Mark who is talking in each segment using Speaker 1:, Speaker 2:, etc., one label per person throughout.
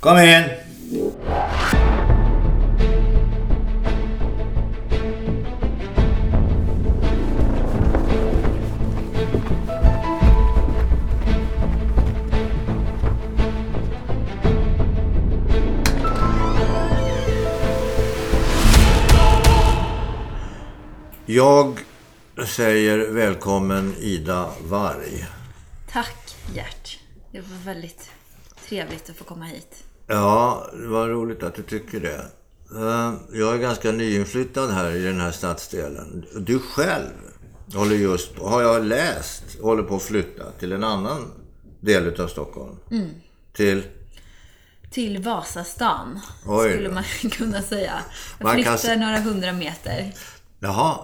Speaker 1: Kom in! Jag säger välkommen Ida Varg.
Speaker 2: Tack Gert. Det var väldigt trevligt att få komma hit.
Speaker 1: Ja, vad roligt att du tycker det. Eh, Jag är ganska nyinflyttad här i den här stadsdelen. Du själv håller just på, har jag läst, håller på att flytta till en annan del av Stockholm. Till,
Speaker 2: Till Vasastan,
Speaker 1: Oj då.
Speaker 2: skulle man kunna säga. Jag
Speaker 1: Man kan
Speaker 2: flyttar några hundra meter.
Speaker 1: jaha.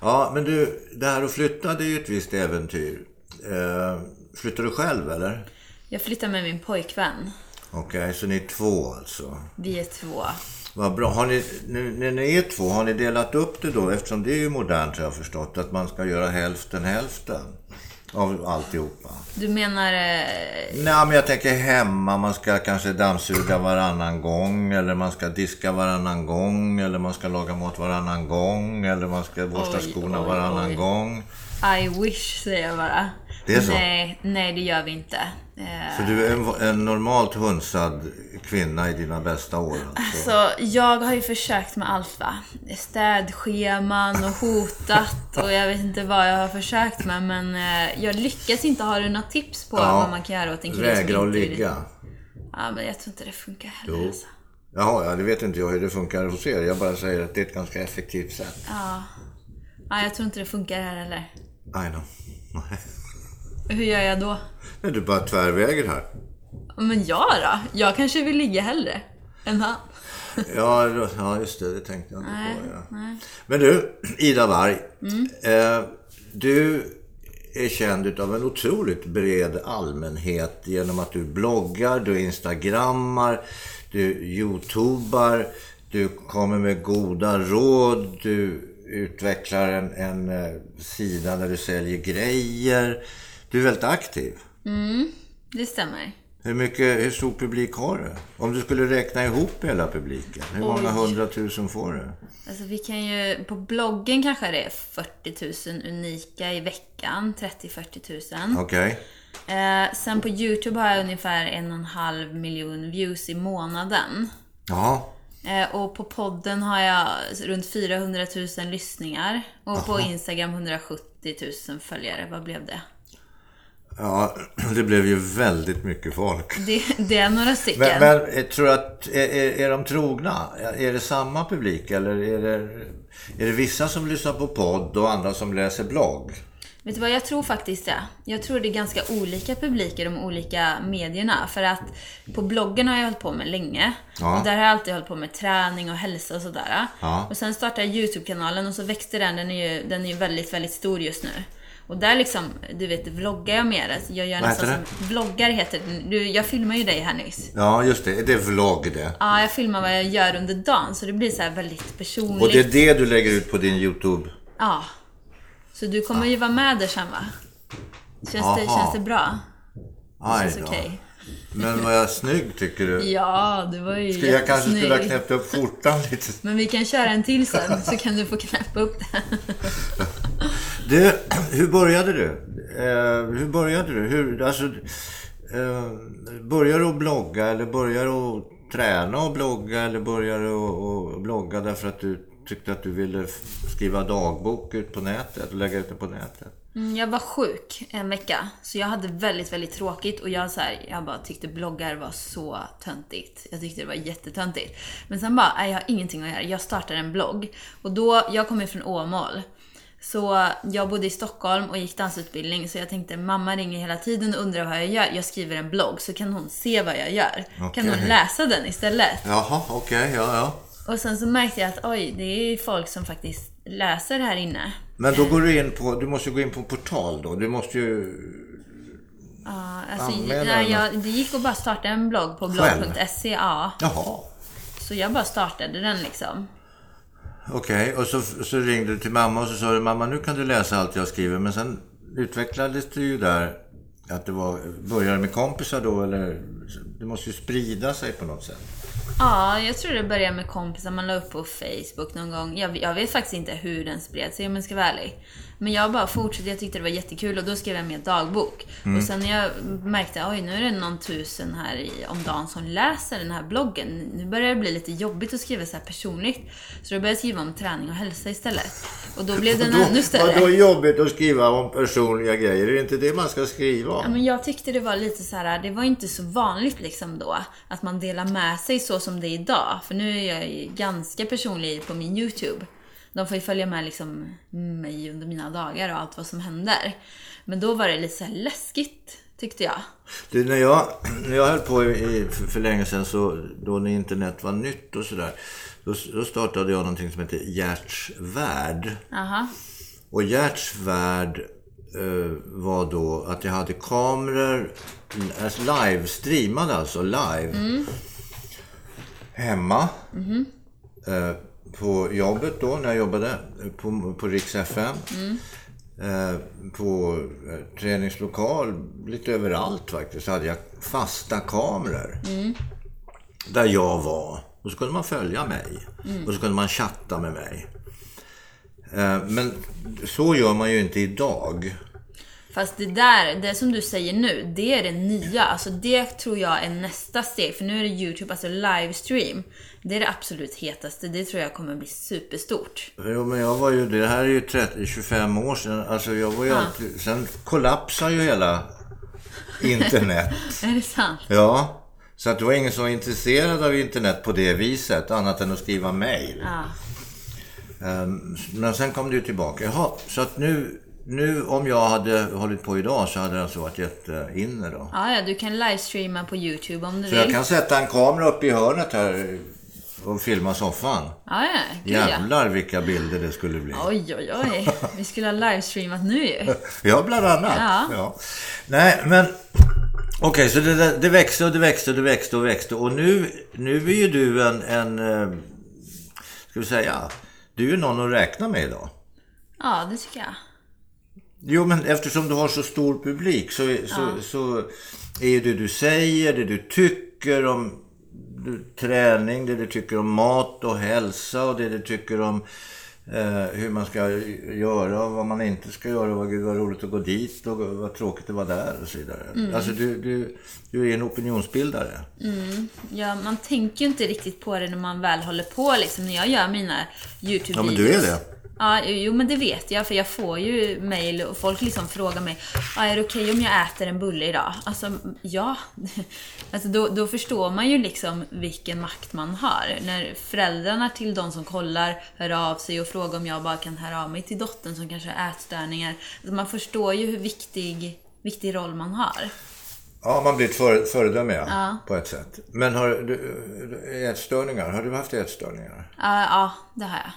Speaker 1: Ja, men du, det här att flytta det är ju ett visst äventyr. Eh, Flyttar du själv eller?
Speaker 2: Jag flyttar med min pojkvän.
Speaker 1: Okej, så ni är två alltså.
Speaker 2: Vi är två.
Speaker 1: Vad bra. Har ni, nu, när ni är två, har ni delat upp det då? Eftersom det är ju modernt har jag förstått, att man ska göra hälften hälften av alltihopa.
Speaker 2: Du menar... eh,
Speaker 1: Nej, men jag tänker hemma, man ska kanske dammsuga varannan gång, eller man ska diska varannan gång, eller man ska laga mat varannan gång, eller man ska borsta
Speaker 2: Oj,
Speaker 1: skorna
Speaker 2: oj,
Speaker 1: varannan
Speaker 2: oj.
Speaker 1: gång.
Speaker 2: I wish, säger jag bara.
Speaker 1: Det är så?
Speaker 2: Nej, nej det gör vi inte. Eh,
Speaker 1: Så du är en, en normalt hunsad kvinna i dina bästa år. Alltså.
Speaker 2: Så jag har ju försökt med allt va. Städscheman och hotat och jag vet inte vad jag har försökt med men eh, jag lyckas inte. Har du några tips på
Speaker 1: Ja,
Speaker 2: vad man kan göra åt en kille som
Speaker 1: Vägra att
Speaker 2: inte vill-
Speaker 1: ligga.
Speaker 2: Ja men jag tror inte det funkar heller
Speaker 1: Jo.
Speaker 2: alltså.
Speaker 1: Jaha, ja, det vet inte jag hur det funkar hos er. Jag bara säger att det är ett ganska effektivt sätt.
Speaker 2: Ja, jag tror inte det funkar här heller.
Speaker 1: I know.
Speaker 2: Hur gör jag då?
Speaker 1: Nej, du bara tvärväger här.
Speaker 2: Men jag då? Jag kanske vill ligga hellre än han.
Speaker 1: Ja, då- ja just det. Det tänkte jag inte på. Ja. Men du, Ida Warg. Eh, du är känd utav en otroligt bred allmänhet genom att du bloggar, du instagrammar, du youtubar, du kommer med goda råd, du utvecklar en, en eh, sida där du säljer grejer. Du är väldigt aktiv.
Speaker 2: Det stämmer.
Speaker 1: Hur, mycket, hur stor publik har du? Om du skulle räkna ihop hela publiken, hur många
Speaker 2: Oj.
Speaker 1: hundratusen får du?
Speaker 2: Alltså vi kan ju, på bloggen kanske det är 40 000 unika i veckan. 30-40 000.
Speaker 1: Okej.
Speaker 2: Eh, sen på Youtube har jag ungefär en och en halv miljon views i månaden.
Speaker 1: Ja.
Speaker 2: Eh, och på podden har jag runt 400 000 lyssningar. Och på Instagram 170 000 följare. Vad blev det?
Speaker 1: ja, det blev ju väldigt mycket folk.
Speaker 2: Det, det är några stycken.
Speaker 1: Men, men eh, tror du att, är, är, är de trogna? Är- Är det samma publik eller är det, är det vissa som lyssnar på podd och andra som läser blogg?
Speaker 2: Vet du vad, jag tror faktiskt det. Jag tror det är ganska olika publik i de olika medierna. För att på bloggen har jag hållit på med länge.
Speaker 1: Ja.
Speaker 2: Och där har jag alltid hållit på med träning och hälsa och sådär.
Speaker 1: Ja.
Speaker 2: Och sen startade jag YouTube-kanalen och så växte den. Den är ju, den är ju väldigt, väldigt stor just nu. Och där liksom, du vet, vloggar jag mer. Alltså, Jag gör
Speaker 1: Vad
Speaker 2: nästan
Speaker 1: heter
Speaker 2: som... Vloggar heter det. Du, jag filmar ju dig här nyss.
Speaker 1: Ja, just det. Det är vlogg det.
Speaker 2: Ja, jag filmar vad jag gör under dagen. Så det blir så här väldigt personligt.
Speaker 1: Och det är det du lägger ut på din YouTube?
Speaker 2: Ja. Så du kommer ju vara med där sen va? Känns, det,
Speaker 1: Aha.
Speaker 2: känns det bra?
Speaker 1: Aj
Speaker 2: känns
Speaker 1: då.
Speaker 2: okej.
Speaker 1: Men vad jag är snygg tycker du?
Speaker 2: Ja, det var ju
Speaker 1: Jag kanske
Speaker 2: jättesnygg.
Speaker 1: skulle ha knäppt upp skjortan lite
Speaker 2: Men vi kan köra en till sen, så kan du få knäppa upp den.
Speaker 1: Du, hur började du? Eh, hur började du? Hur, alltså, eh, började du att blogga eller började du att träna och blogga eller började du att, att blogga därför att du tyckte att du ville f- skriva dagbok ut på nätet och lägga ut det på nätet?
Speaker 2: Mm, Jag var sjuk en vecka, så jag hade väldigt, väldigt tråkigt. Och jag, så här, jag bara tyckte bloggar var så töntigt. Jag tyckte det var jättetöntigt. Men sen bara, nej jag har ingenting att göra. Jag startar en blogg. Och då, jag kommer från Åmål. Så jag bodde i Stockholm och gick dansutbildning. Så jag tänkte, mamma ringer hela tiden och undrar vad jag gör. Jag skriver en blogg, så kan hon se vad jag gör. Kan hon
Speaker 1: Okej.
Speaker 2: läsa den istället?
Speaker 1: Jaha, okej, ja, ja.
Speaker 2: Och sen så märkte jag att oj, det är folk som faktiskt läser här inne.
Speaker 1: Men då går du in på, du måste ju gå in på en portal då. Du måste ju,
Speaker 2: Ja, Alltså,
Speaker 1: Anmäla
Speaker 2: nej,
Speaker 1: eller
Speaker 2: jag, det gick att bara starta en blogg på
Speaker 1: Själv?
Speaker 2: blogg.se. Ja.
Speaker 1: jaha.
Speaker 2: Så jag bara startade den liksom.
Speaker 1: Okej, och så, så ringde du till mamma och så sa du mamma nu kan du läsa allt jag skriver. Men sen utvecklades det ju där att det var, började med kompisar då eller? Det måste ju sprida sig på något sätt.
Speaker 2: Ja, jag tror det började med kompisar. Man la upp på Facebook någon gång. Jag, jag vet faktiskt inte hur den spred sig om jag ska vara ärlig. Men jag bara fortsatte. Jag tyckte det var jättekul och då skrev jag med dagbok.
Speaker 1: Mm.
Speaker 2: Och sen när jag märkte oj nu är det någon tusen här i, om dagen som läser den här bloggen. Nu börjar det bli lite jobbigt att skriva så här personligt. Så då började jag skriva om träning och hälsa istället. Och då blev den ännu större.
Speaker 1: Vadå jobbigt att skriva om personliga grejer? Är det inte det man ska skriva
Speaker 2: Ja,
Speaker 1: om?
Speaker 2: men jag tyckte det var lite så här, det var inte så vanligt liksom då att man delar med sig så som det är idag. För nu är jag ju ganska personlig på min YouTube. De får ju följa med liksom mig under mina dagar och allt vad som händer. Men då var det lite så här läskigt tyckte jag.
Speaker 1: Du, när jag, när jag höll på i, för, för länge sedan, så, då när internet var nytt och sådär, då, då startade jag någonting som heter Gerts värld.
Speaker 2: Aha.
Speaker 1: Och Gerts värld eh, var då att jag hade kameror, alltså live, streamade alltså live. Hemma. Eh, på jobbet då, när jag jobbade eh, på, på Rix FM. Eh, på eh, träningslokal, lite överallt faktiskt, hade jag fasta kameror. Där jag var. Och så kunde man följa mig. Och så kunde man chatta med mig. Eh, Men så gör man ju inte idag.
Speaker 2: Fast det där, det som du säger nu, det är det nya. Alltså det tror jag är nästa steg. För nu är det YouTube, alltså livestream. Det är det absolut hetaste. Det tror jag kommer bli superstort.
Speaker 1: Jo, men jag var ju, det här är ju 30, 25 år sedan. Alltså jag var ju alltid, sen kollapsade ju hela internet.
Speaker 2: Är det sant?
Speaker 1: ja. Så att det var ingen som var intresserad av internet på det viset, annat än att skriva mejl.
Speaker 2: Ja.
Speaker 1: Ehm, Men sen kom det ju tillbaka. Jaha, så att nu, nu om jag hade hållit på idag så hade det alltså varit jätteinne då.
Speaker 2: Ja, ja, du kan livestreama på YouTube om du
Speaker 1: Så
Speaker 2: vill.
Speaker 1: jag kan sätta en kamera uppe i hörnet här och filma soffan.
Speaker 2: Ja, ja, gud ja.
Speaker 1: Jävlar vilka bilder det skulle bli.
Speaker 2: Oj, oj, oj. Vi skulle ha livestreamat nu ju.
Speaker 1: Ja, bland annat.
Speaker 2: Ja.
Speaker 1: Nej, men okej, så det, där- det växte och det växte och det växte och växte. Och nu, nu är ju du en, en eh, ska vi säga, du är ju någon att räkna med idag.
Speaker 2: Ja, det tycker jag.
Speaker 1: Jo, men eftersom du har så stor publik så, är- så, så är ju det du säger, det du tycker om du- träning, det du tycker om mat och hälsa och det du tycker om eh, hur man ska göra och vad man inte ska göra. Vad, gud, vad roligt att gå dit och vad tråkigt att vara där och så vidare. Alltså, du, du, du är en opinionsbildare.
Speaker 2: Ja, man tänker ju inte riktigt på det när man väl håller på liksom. När jag gör mina YouTube-videos.
Speaker 1: Ja, men du är det.
Speaker 2: Ja, jo men det vet jag för jag får ju mail och folk liksom frågar mig ah, Är det okej om jag äter en bulle idag? Alltså, ja. Alltså, då, då förstår man ju liksom vilken makt man har. När föräldrarna till de som kollar hör av sig och frågar om jag bara kan höra av mig till dottern som kanske har ätstörningar. Alltså, man förstår ju hur viktig, viktig roll man har.
Speaker 1: Ja, man blir ett före, föredöme ja, på ett sätt. Men har du du- ätstörningar? Har du haft ätstörningar?
Speaker 2: Ja, ja, det har jag.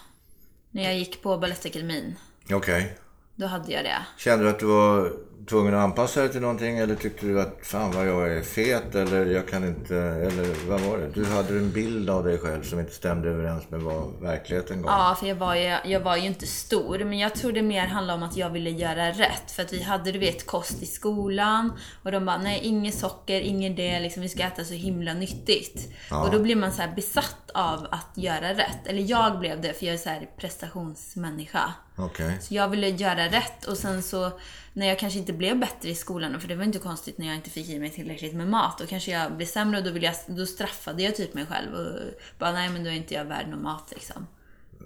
Speaker 2: När jag gick på Balettakademin,
Speaker 1: Okej.
Speaker 2: då hade jag det.
Speaker 1: Kände du att du var tvungen att anpassa dig till någonting eller tyckte du att fan vad jag är fet eller jag kan inte, eller vad var det? Du hade en bild av dig själv som inte stämde överens med vad verkligheten gav.
Speaker 2: Ja, för jag var, ju, jag var ju inte stor, men jag tror det mer handlade om att jag ville göra rätt. För att vi hade, du vet, kost i skolan och de bara, nej, inget socker, inget det, liksom, vi ska äta så himla nyttigt. Och då blir man så här besatt av att göra rätt. Eller jag blev det, för jag är så här prestationsmänniska.
Speaker 1: Okej.
Speaker 2: Så jag ville göra rätt och sen så när jag kanske inte blev bättre i skolan, för det var inte konstigt när jag inte fick i mig tillräckligt med mat, då kanske jag blev sämre och då, ville jag, då straffade jag typ mig själv och bara nej men då är inte jag värd någon mat liksom.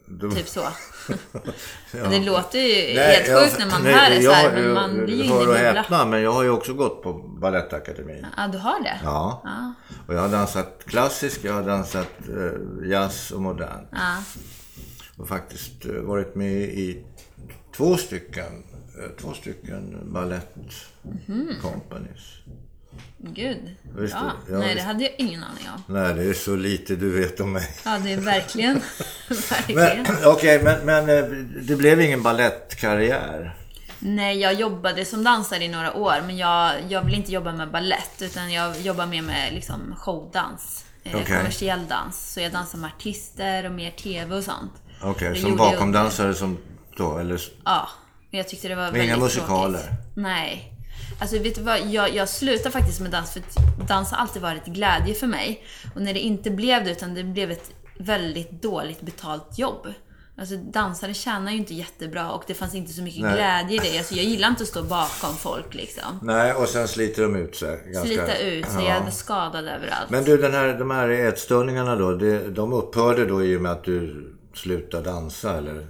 Speaker 1: Då-
Speaker 2: Typ så.
Speaker 1: Ja.
Speaker 2: Det låter ju
Speaker 1: Nej,
Speaker 2: helt
Speaker 1: jag-
Speaker 2: sjukt när man
Speaker 1: nej,
Speaker 2: hör det så
Speaker 1: jag-
Speaker 2: här, men
Speaker 1: jag-
Speaker 2: man blir ju inne i
Speaker 1: Hör och
Speaker 2: bubbla.
Speaker 1: häpna, men jag har ju också gått på Balettakademin.
Speaker 2: Ja, du har det?
Speaker 1: Ja.
Speaker 2: Ja.
Speaker 1: Och jag har dansat klassisk, jag har dansat eh, jazz och modern.
Speaker 2: Ja.
Speaker 1: Och faktiskt eh, varit med i två stycken, eh, två stycken balett companies.
Speaker 2: Mhm. Gud.
Speaker 1: Visst,
Speaker 2: Ja.
Speaker 1: ja,
Speaker 2: Nej, det
Speaker 1: visst.
Speaker 2: hade jag ingen aning om.
Speaker 1: Nej, det är så lite du vet om mig.
Speaker 2: Ja, det är verkligen...
Speaker 1: Men,
Speaker 2: verkligen.
Speaker 1: Okej, men, men eh, det blev ingen balettkarriär.
Speaker 2: Nej, jag jobbade som dansare i några år, men jag, jag vill inte jobba med ballett utan jag jobbar mer med liksom showdans. eh,
Speaker 1: Okej.
Speaker 2: Kommersiell dans. Så jag dansar med artister och mer TV och sånt.
Speaker 1: Okej,
Speaker 2: Jag
Speaker 1: som
Speaker 2: gjorde ju-
Speaker 1: bakomdansare som då, eller...
Speaker 2: Ja, men jag tyckte det var
Speaker 1: Men
Speaker 2: väldigt
Speaker 1: inga musikaler?
Speaker 2: Tråkigt. Nej. Alltså vet du vad, jag, jag slutade faktiskt med dans för att dans har alltid varit glädje för mig. Och när det inte blev det utan det blev ett väldigt dåligt betalt jobb. Alltså dansare tjänar ju inte jättebra och det fanns inte så mycket
Speaker 1: Nej.
Speaker 2: glädje i det. Alltså jag gillar inte att stå bakom folk liksom.
Speaker 1: Nej, och sen sliter de ut sig. Ganska.
Speaker 2: Slita ut sig, jag var skadad överallt.
Speaker 1: Men du, den här, de här ätstörningarna då, det, de upphörde då i och med att du slutade dansa eller?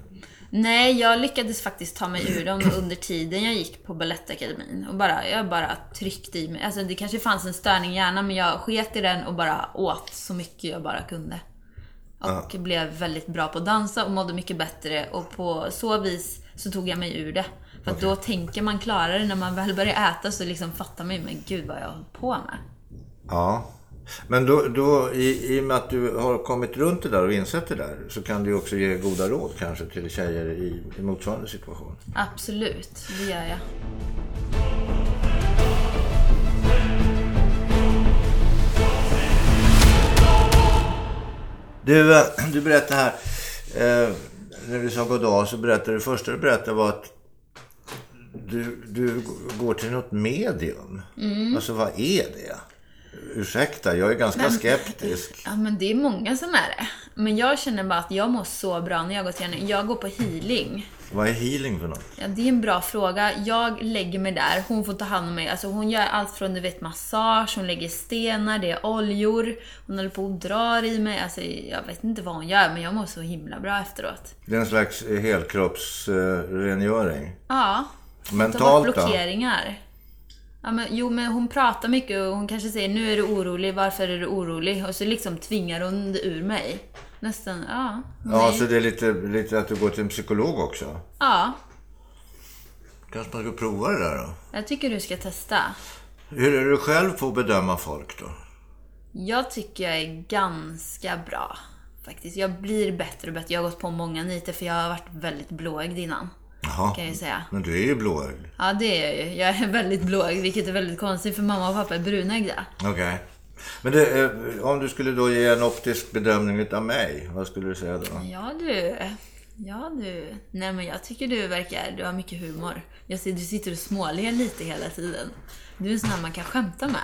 Speaker 2: Nej, jag lyckades faktiskt ta mig ur dem under tiden jag gick på Balettakademin. Och bara, jag bara tryckte i mig. Alltså det kanske fanns en störning i hjärnan men jag sket i den och bara åt så mycket jag bara kunde. Och blev väldigt bra på att dansa och mådde mycket bättre och på så vis så tog jag mig ur det. För att då tänker man klarare när man väl börjar äta så liksom fattar man ju, men gud vad jag höll på med.
Speaker 1: Ja. Men då, då i, i och med att du har kommit runt det där och insett det där så kan du ju också ge goda råd kanske till tjejer i, i motsvarande situation.
Speaker 2: Absolut, det gör jag.
Speaker 1: Du, eh, du berättar här, eh, när du sa goddag så berättade du, det första du berättade var att du, du går till något medium. Alltså vad är det? Ursäkta, jag är ganska skeptisk.
Speaker 2: Ja, men det är många som är det. Men jag känner bara att jag mår så bra när jag går till henne. Jag går på healing.
Speaker 1: Vad är healing för något?
Speaker 2: Ja, det är en bra fråga. Jag lägger mig där, hon får ta hand om mig. Alltså, hon gör allt från du vet, massage, hon lägger stenar, det är oljor. Hon håller på och drar i mig. Alltså, jag vet inte vad hon gör, men jag mår så himla bra efteråt.
Speaker 1: Det är en slags eh, helkroppsrengöring.
Speaker 2: Ja,
Speaker 1: Mentalt
Speaker 2: ta bort
Speaker 1: då?
Speaker 2: blockeringar. Ja, men, jo, men hon pratar mycket och hon kanske säger nu är du orolig, varför är du orolig? Och så liksom tvingar hon det ur mig. Nästan, ja. hon
Speaker 1: Ja,
Speaker 2: är-
Speaker 1: så det är lite, lite att du går till en psykolog också.
Speaker 2: ja.
Speaker 1: Kanske man ska prova det där då?
Speaker 2: Jag tycker du ska testa.
Speaker 1: Hur är du själv på att bedöma folk då?
Speaker 2: Jag tycker jag är ganska bra faktiskt. Jag blir bättre och bättre. Jag har gått på många niter för jag har varit väldigt blåögd innan.
Speaker 1: Jaha,
Speaker 2: Kan jag ju säga.
Speaker 1: men du är ju blåögd.
Speaker 2: Ja, det är jag ju. Jag är väldigt blåögd, vilket är väldigt konstigt för mamma och pappa är brunögda.
Speaker 1: Okej. Men det, eh, om du skulle då ge en optisk bedömning utav mig, vad skulle du säga då?
Speaker 2: Ja du. Ja du. Nej men jag tycker du verkar, du har mycket humor. Jag ser du sitter och småler lite hela tiden. Du är en sån här man kan skämta med.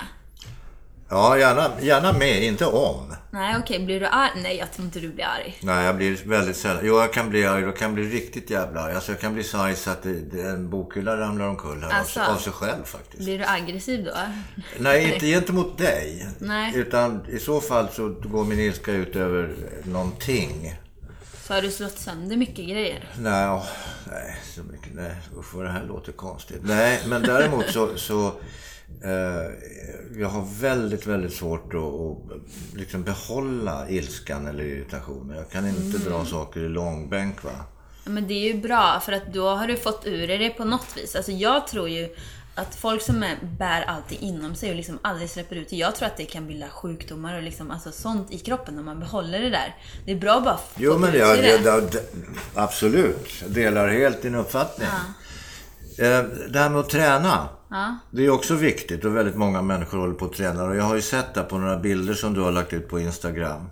Speaker 1: Ja, gärna, gärna med, inte om.
Speaker 2: Nej okej, blir du arg? Nej jag tror inte du blir arg.
Speaker 1: Nej, jag blir väldigt sällan... Jo, jag kan bli arg. Jag kan bli riktigt jävla arg. Alltså, jag kan bli så arg så att det, det, en bokhylla ramlar omkull här
Speaker 2: Alltså.
Speaker 1: av, sig- av sig själv faktiskt.
Speaker 2: Blir du aggressiv då?
Speaker 1: Nej, inte gentemot dig.
Speaker 2: Nej.
Speaker 1: Utan i så fall så går min ilska ut över någonting.
Speaker 2: Så har du slått sönder mycket grejer.
Speaker 1: Nej, åh, nej, så mycket, nej. Usch, vad det här låter konstigt. Nej, men däremot så... så eh, jag har väldigt, väldigt svårt att, att liksom behålla ilskan eller irritationen. Jag kan inte dra saker i långbänk. Va?
Speaker 2: Ja, Men det är ju bra för att då har du fått ur dig det på något vis. Alltså jag tror ju att folk som är, bär alltid inom sig och liksom aldrig släpper ut det. Jag tror att det kan bilda sjukdomar och liksom, alltså sånt i kroppen om man behåller det där. Det är bra att bara få
Speaker 1: Jo, men
Speaker 2: ut
Speaker 1: jag,
Speaker 2: det.
Speaker 1: jag, jag, absolut. Jag delar helt din uppfattning. Eh, Det här med att träna.
Speaker 2: Ja.
Speaker 1: Det är också viktigt och väldigt många människor håller på och tränar. Och jag har ju sett det på några bilder som du har lagt ut på Instagram.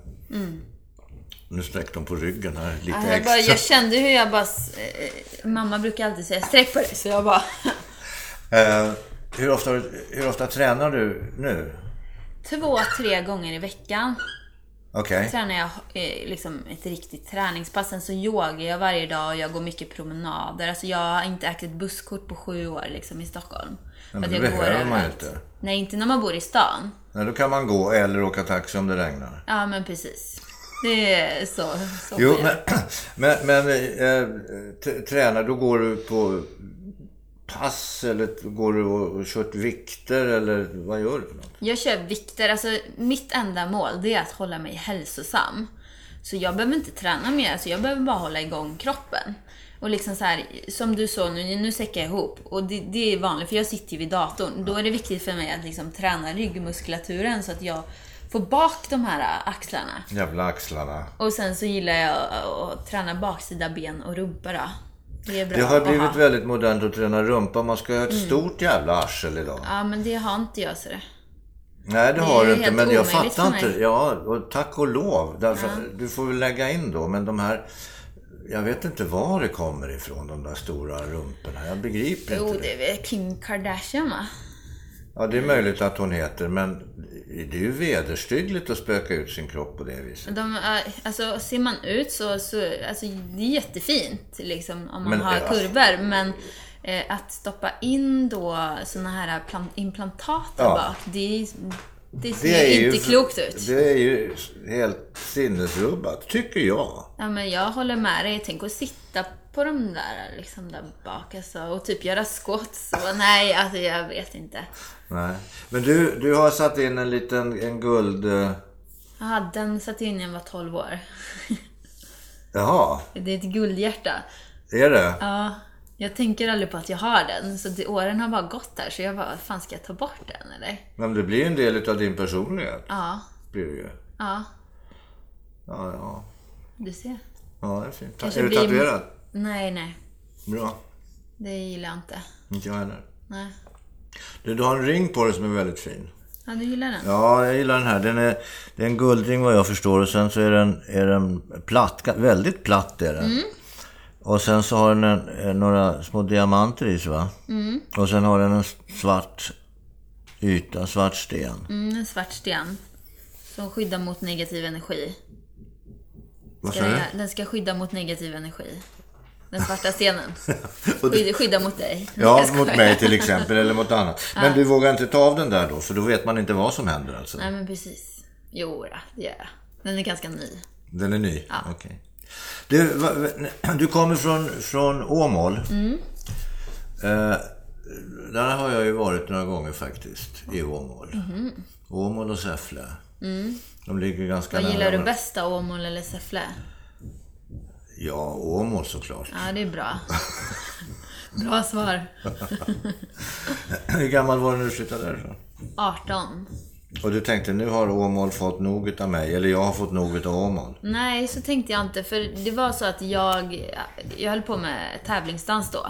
Speaker 1: Nu sträckte de på ryggen här lite
Speaker 2: Mm. Ja, Jag,
Speaker 1: extra.
Speaker 2: bara, jag kände hur jag bara... s- eh, eh, mamma brukar alltid säga sträck på dig, så jag bara...
Speaker 1: Eh, hur, ofta, hur ofta tränar du nu?
Speaker 2: Två, tre gånger i veckan
Speaker 1: Okej.
Speaker 2: tränar jag eh, liksom ett riktigt träningspass. Sen så yogar jag varje dag och jag går mycket promenader. Alltså jag har inte ägt ett busskort på sju år liksom i Stockholm. För
Speaker 1: men
Speaker 2: att
Speaker 1: det
Speaker 2: jag går
Speaker 1: behöver man ju
Speaker 2: överallt.
Speaker 1: inte.
Speaker 2: Nej, inte när man bor i stan.
Speaker 1: Nej, Då kan man gå eller åka taxi om det regnar.
Speaker 2: Ja, men precis. Det är så. så
Speaker 1: Jo,
Speaker 2: jag.
Speaker 1: men, men, men eh, t- tränar, då går du på pass eller går du och, och kört vikter eller vad gör du? för något?
Speaker 2: Jag kör vikter. Alltså, mitt enda mål det är att hålla mig hälsosam. Så jag behöver inte träna mer, alltså, jag behöver bara hålla igång kroppen. Och liksom så här, som du såg nu, nu säckar jag ihop. Och det, det är vanligt, för jag sitter ju vid datorn. Då är det viktigt för mig att liksom träna ryggmuskulaturen så att jag får bak de här axlarna.
Speaker 1: Jävla axlarna.
Speaker 2: Och sen så gillar jag att, att träna baksida ben och rumpa då. Det är bra
Speaker 1: Det har
Speaker 2: att ha.
Speaker 1: blivit väldigt modernt att träna rumpa. Man ska ha ett
Speaker 2: Mm.
Speaker 1: stort jävla arsel idag.
Speaker 2: Ja, men det har inte jag så det.
Speaker 1: Nej, det
Speaker 2: är
Speaker 1: har
Speaker 2: ju
Speaker 1: du inte.
Speaker 2: helt
Speaker 1: Men jag
Speaker 2: omöjligt
Speaker 1: fattar
Speaker 2: för mig.
Speaker 1: inte. Ja, och tack och lov. Därför, att Du får väl lägga in då. Men de här... Jag vet inte var det kommer ifrån, de där stora rumporna. Jag begriper
Speaker 2: Jo,
Speaker 1: inte det.
Speaker 2: det är väl Kim Kardashian va?
Speaker 1: Ja, det är möjligt att hon heter, men det är ju vederstyggligt att spöka ut sin kropp på det viset.
Speaker 2: De, är- alltså, ser man ut så, så alltså, det är jättefint liksom, om man
Speaker 1: Men,
Speaker 2: har
Speaker 1: eh,
Speaker 2: kurvor. Men eh, att stoppa in då såna här plan- implantat
Speaker 1: Ja.
Speaker 2: bak, det, är- det ser inte klokt ut.
Speaker 1: Det är ju helt sinnesrubbat, tycker jag.
Speaker 2: Ja, men jag håller med dig. Tänk att sitta på de där, liksom, där bak alltså, och typ göra squats. Och, nej, alltså, jag vet inte.
Speaker 1: Nej. Men du, du har satt in en liten en guld... eh,
Speaker 2: Jaha, den satte jag in när jag var 12 år.
Speaker 1: Jaha,
Speaker 2: Det är ett guldhjärta.
Speaker 1: är det?
Speaker 2: Ja, jag tänker aldrig på att jag har den. Så det, åren har bara gått där. Så jag bara, fan ska jag ta bort den eller?
Speaker 1: Men det blir ju en del av din personlighet.
Speaker 2: Ja,
Speaker 1: Blir det ju.
Speaker 2: ja.
Speaker 1: Ja, ja.
Speaker 2: Du ser.
Speaker 1: Ja, det är fint.
Speaker 2: Kanske
Speaker 1: är du
Speaker 2: blir-
Speaker 1: tatuerad?
Speaker 2: Nej, nej.
Speaker 1: Bra.
Speaker 2: Det gillar jag inte.
Speaker 1: Inte jag heller.
Speaker 2: Nej.
Speaker 1: Du, du har en ring på dig som är väldigt fin.
Speaker 2: Ja, du gillar den?
Speaker 1: Ja, jag gillar den här. Den är, det är en guldring vad jag förstår och sen så är den, är den platt, ga- väldigt platt är den.
Speaker 2: Mm.
Speaker 1: Och sen så har den en, eh, några små diamanter i sig va?
Speaker 2: Mm.
Speaker 1: Och sen har den en s- svart yta, svart sten.
Speaker 2: Mm, en svart sten. Som skyddar mot negativ energi.
Speaker 1: Vad
Speaker 2: Ska
Speaker 1: sa du?
Speaker 2: den- Den ska skydda mot negativ energi. Den svarta stenen.
Speaker 1: Och du-
Speaker 2: Skydda, skydda mot dig.
Speaker 1: Ja,
Speaker 2: Jag skojar.
Speaker 1: mot mig till exempel eller mot annat. Men du vågar inte ta av den där då? För då vet man inte vad som händer alltså?
Speaker 2: Nej, men precis. Jo, då, det gör jag. Den är ganska ny.
Speaker 1: Den är ny? Ja. Okej. Du, va, va- du kommer från, från Åmål.
Speaker 2: Mm.
Speaker 1: Eh, där har jag ju varit några gånger faktiskt, i Åmål.
Speaker 2: Mhm.
Speaker 1: Åmål och Säffle. De ligger ganska
Speaker 2: Mm. Vad
Speaker 1: nära
Speaker 2: gillar du
Speaker 1: varandra.
Speaker 2: bäst då? Åmål eller Säffle?
Speaker 1: Ja, Åmål såklart.
Speaker 2: Ja, det är bra. Bra svar.
Speaker 1: Hur gammal var du när du flyttade därifrån?
Speaker 2: 18.
Speaker 1: Och du tänkte, nu har Åmål fått nog av mig. Eller jag har fått nog av Åmål.
Speaker 2: Nej, så tänkte jag inte. För det var så att jag, jag höll på med tävlingsdans då.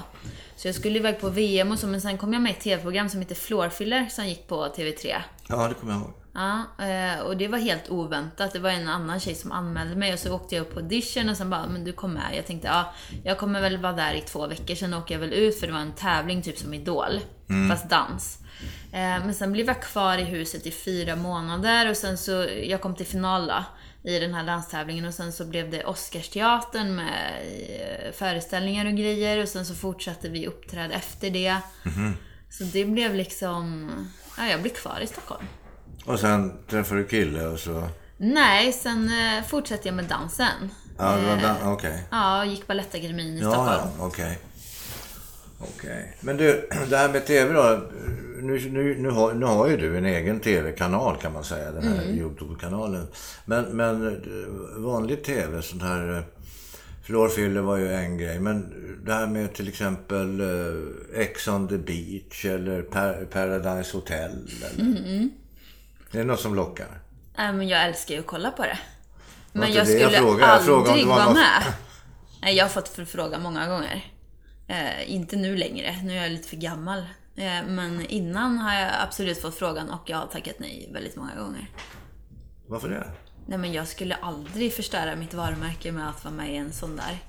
Speaker 2: Så jag skulle iväg på VM och så, men sen kom jag med i ett TV-program som heter Floorfiller som gick på TV3.
Speaker 1: Ja, det kommer jag ihåg.
Speaker 2: Ja, eh, och det var helt oväntat. Det var en annan tjej som anmälde mig och så åkte jag upp på audition och sen bara, men du kom med. Jag tänkte, ja, jag kommer väl vara där i två veckor, sen åker jag väl ut för det var en tävling typ som Idol, fast dans. Eh, Men sen blev jag kvar i huset i fyra månader och sen så, jag kom till final då, i den här danstävlingen och sen så blev det Oscarsteatern med eh, föreställningar och grejer och sen så fortsatte vi uppträda efter det. Så det blev liksom, ja, jag blev kvar i Stockholm.
Speaker 1: Och sen träffade du kille och så...
Speaker 2: Nej, sen eh, fortsatte jag med dansen.
Speaker 1: Ja,
Speaker 2: Eh.
Speaker 1: det var dan- okej.
Speaker 2: Ja, och gick Balettakademin i Stockholm.
Speaker 1: Ja, ja, okej. Okej. Men du, det här med TV då. Nu, nu, nu, har, nu har ju du en egen TV-kanal kan man säga, den här Youtube-kanalen. Men, men eh, vanlig TV, sånt här... eh, Fluorfyller var ju en grej, men det här med till exempel eh, Ex on the beach eller Par- Paradise Hotel. Eller... Det är något som lockar.
Speaker 2: Nej, Äh, men jag älskar ju att kolla på det.
Speaker 1: Var
Speaker 2: Men
Speaker 1: inte
Speaker 2: jag
Speaker 1: det jag
Speaker 2: skulle
Speaker 1: frågade? Jag
Speaker 2: aldrig
Speaker 1: frågade om det var
Speaker 2: vara
Speaker 1: något-
Speaker 2: med. Nej, jag har fått förfrågan många gånger. Eh, inte nu längre, nu är jag lite för gammal. Eh, men innan har jag absolut fått frågan och jag har tackat nej väldigt många gånger.
Speaker 1: Varför det?
Speaker 2: Nej, men jag skulle aldrig förstöra mitt varumärke med att vara med i en sån där.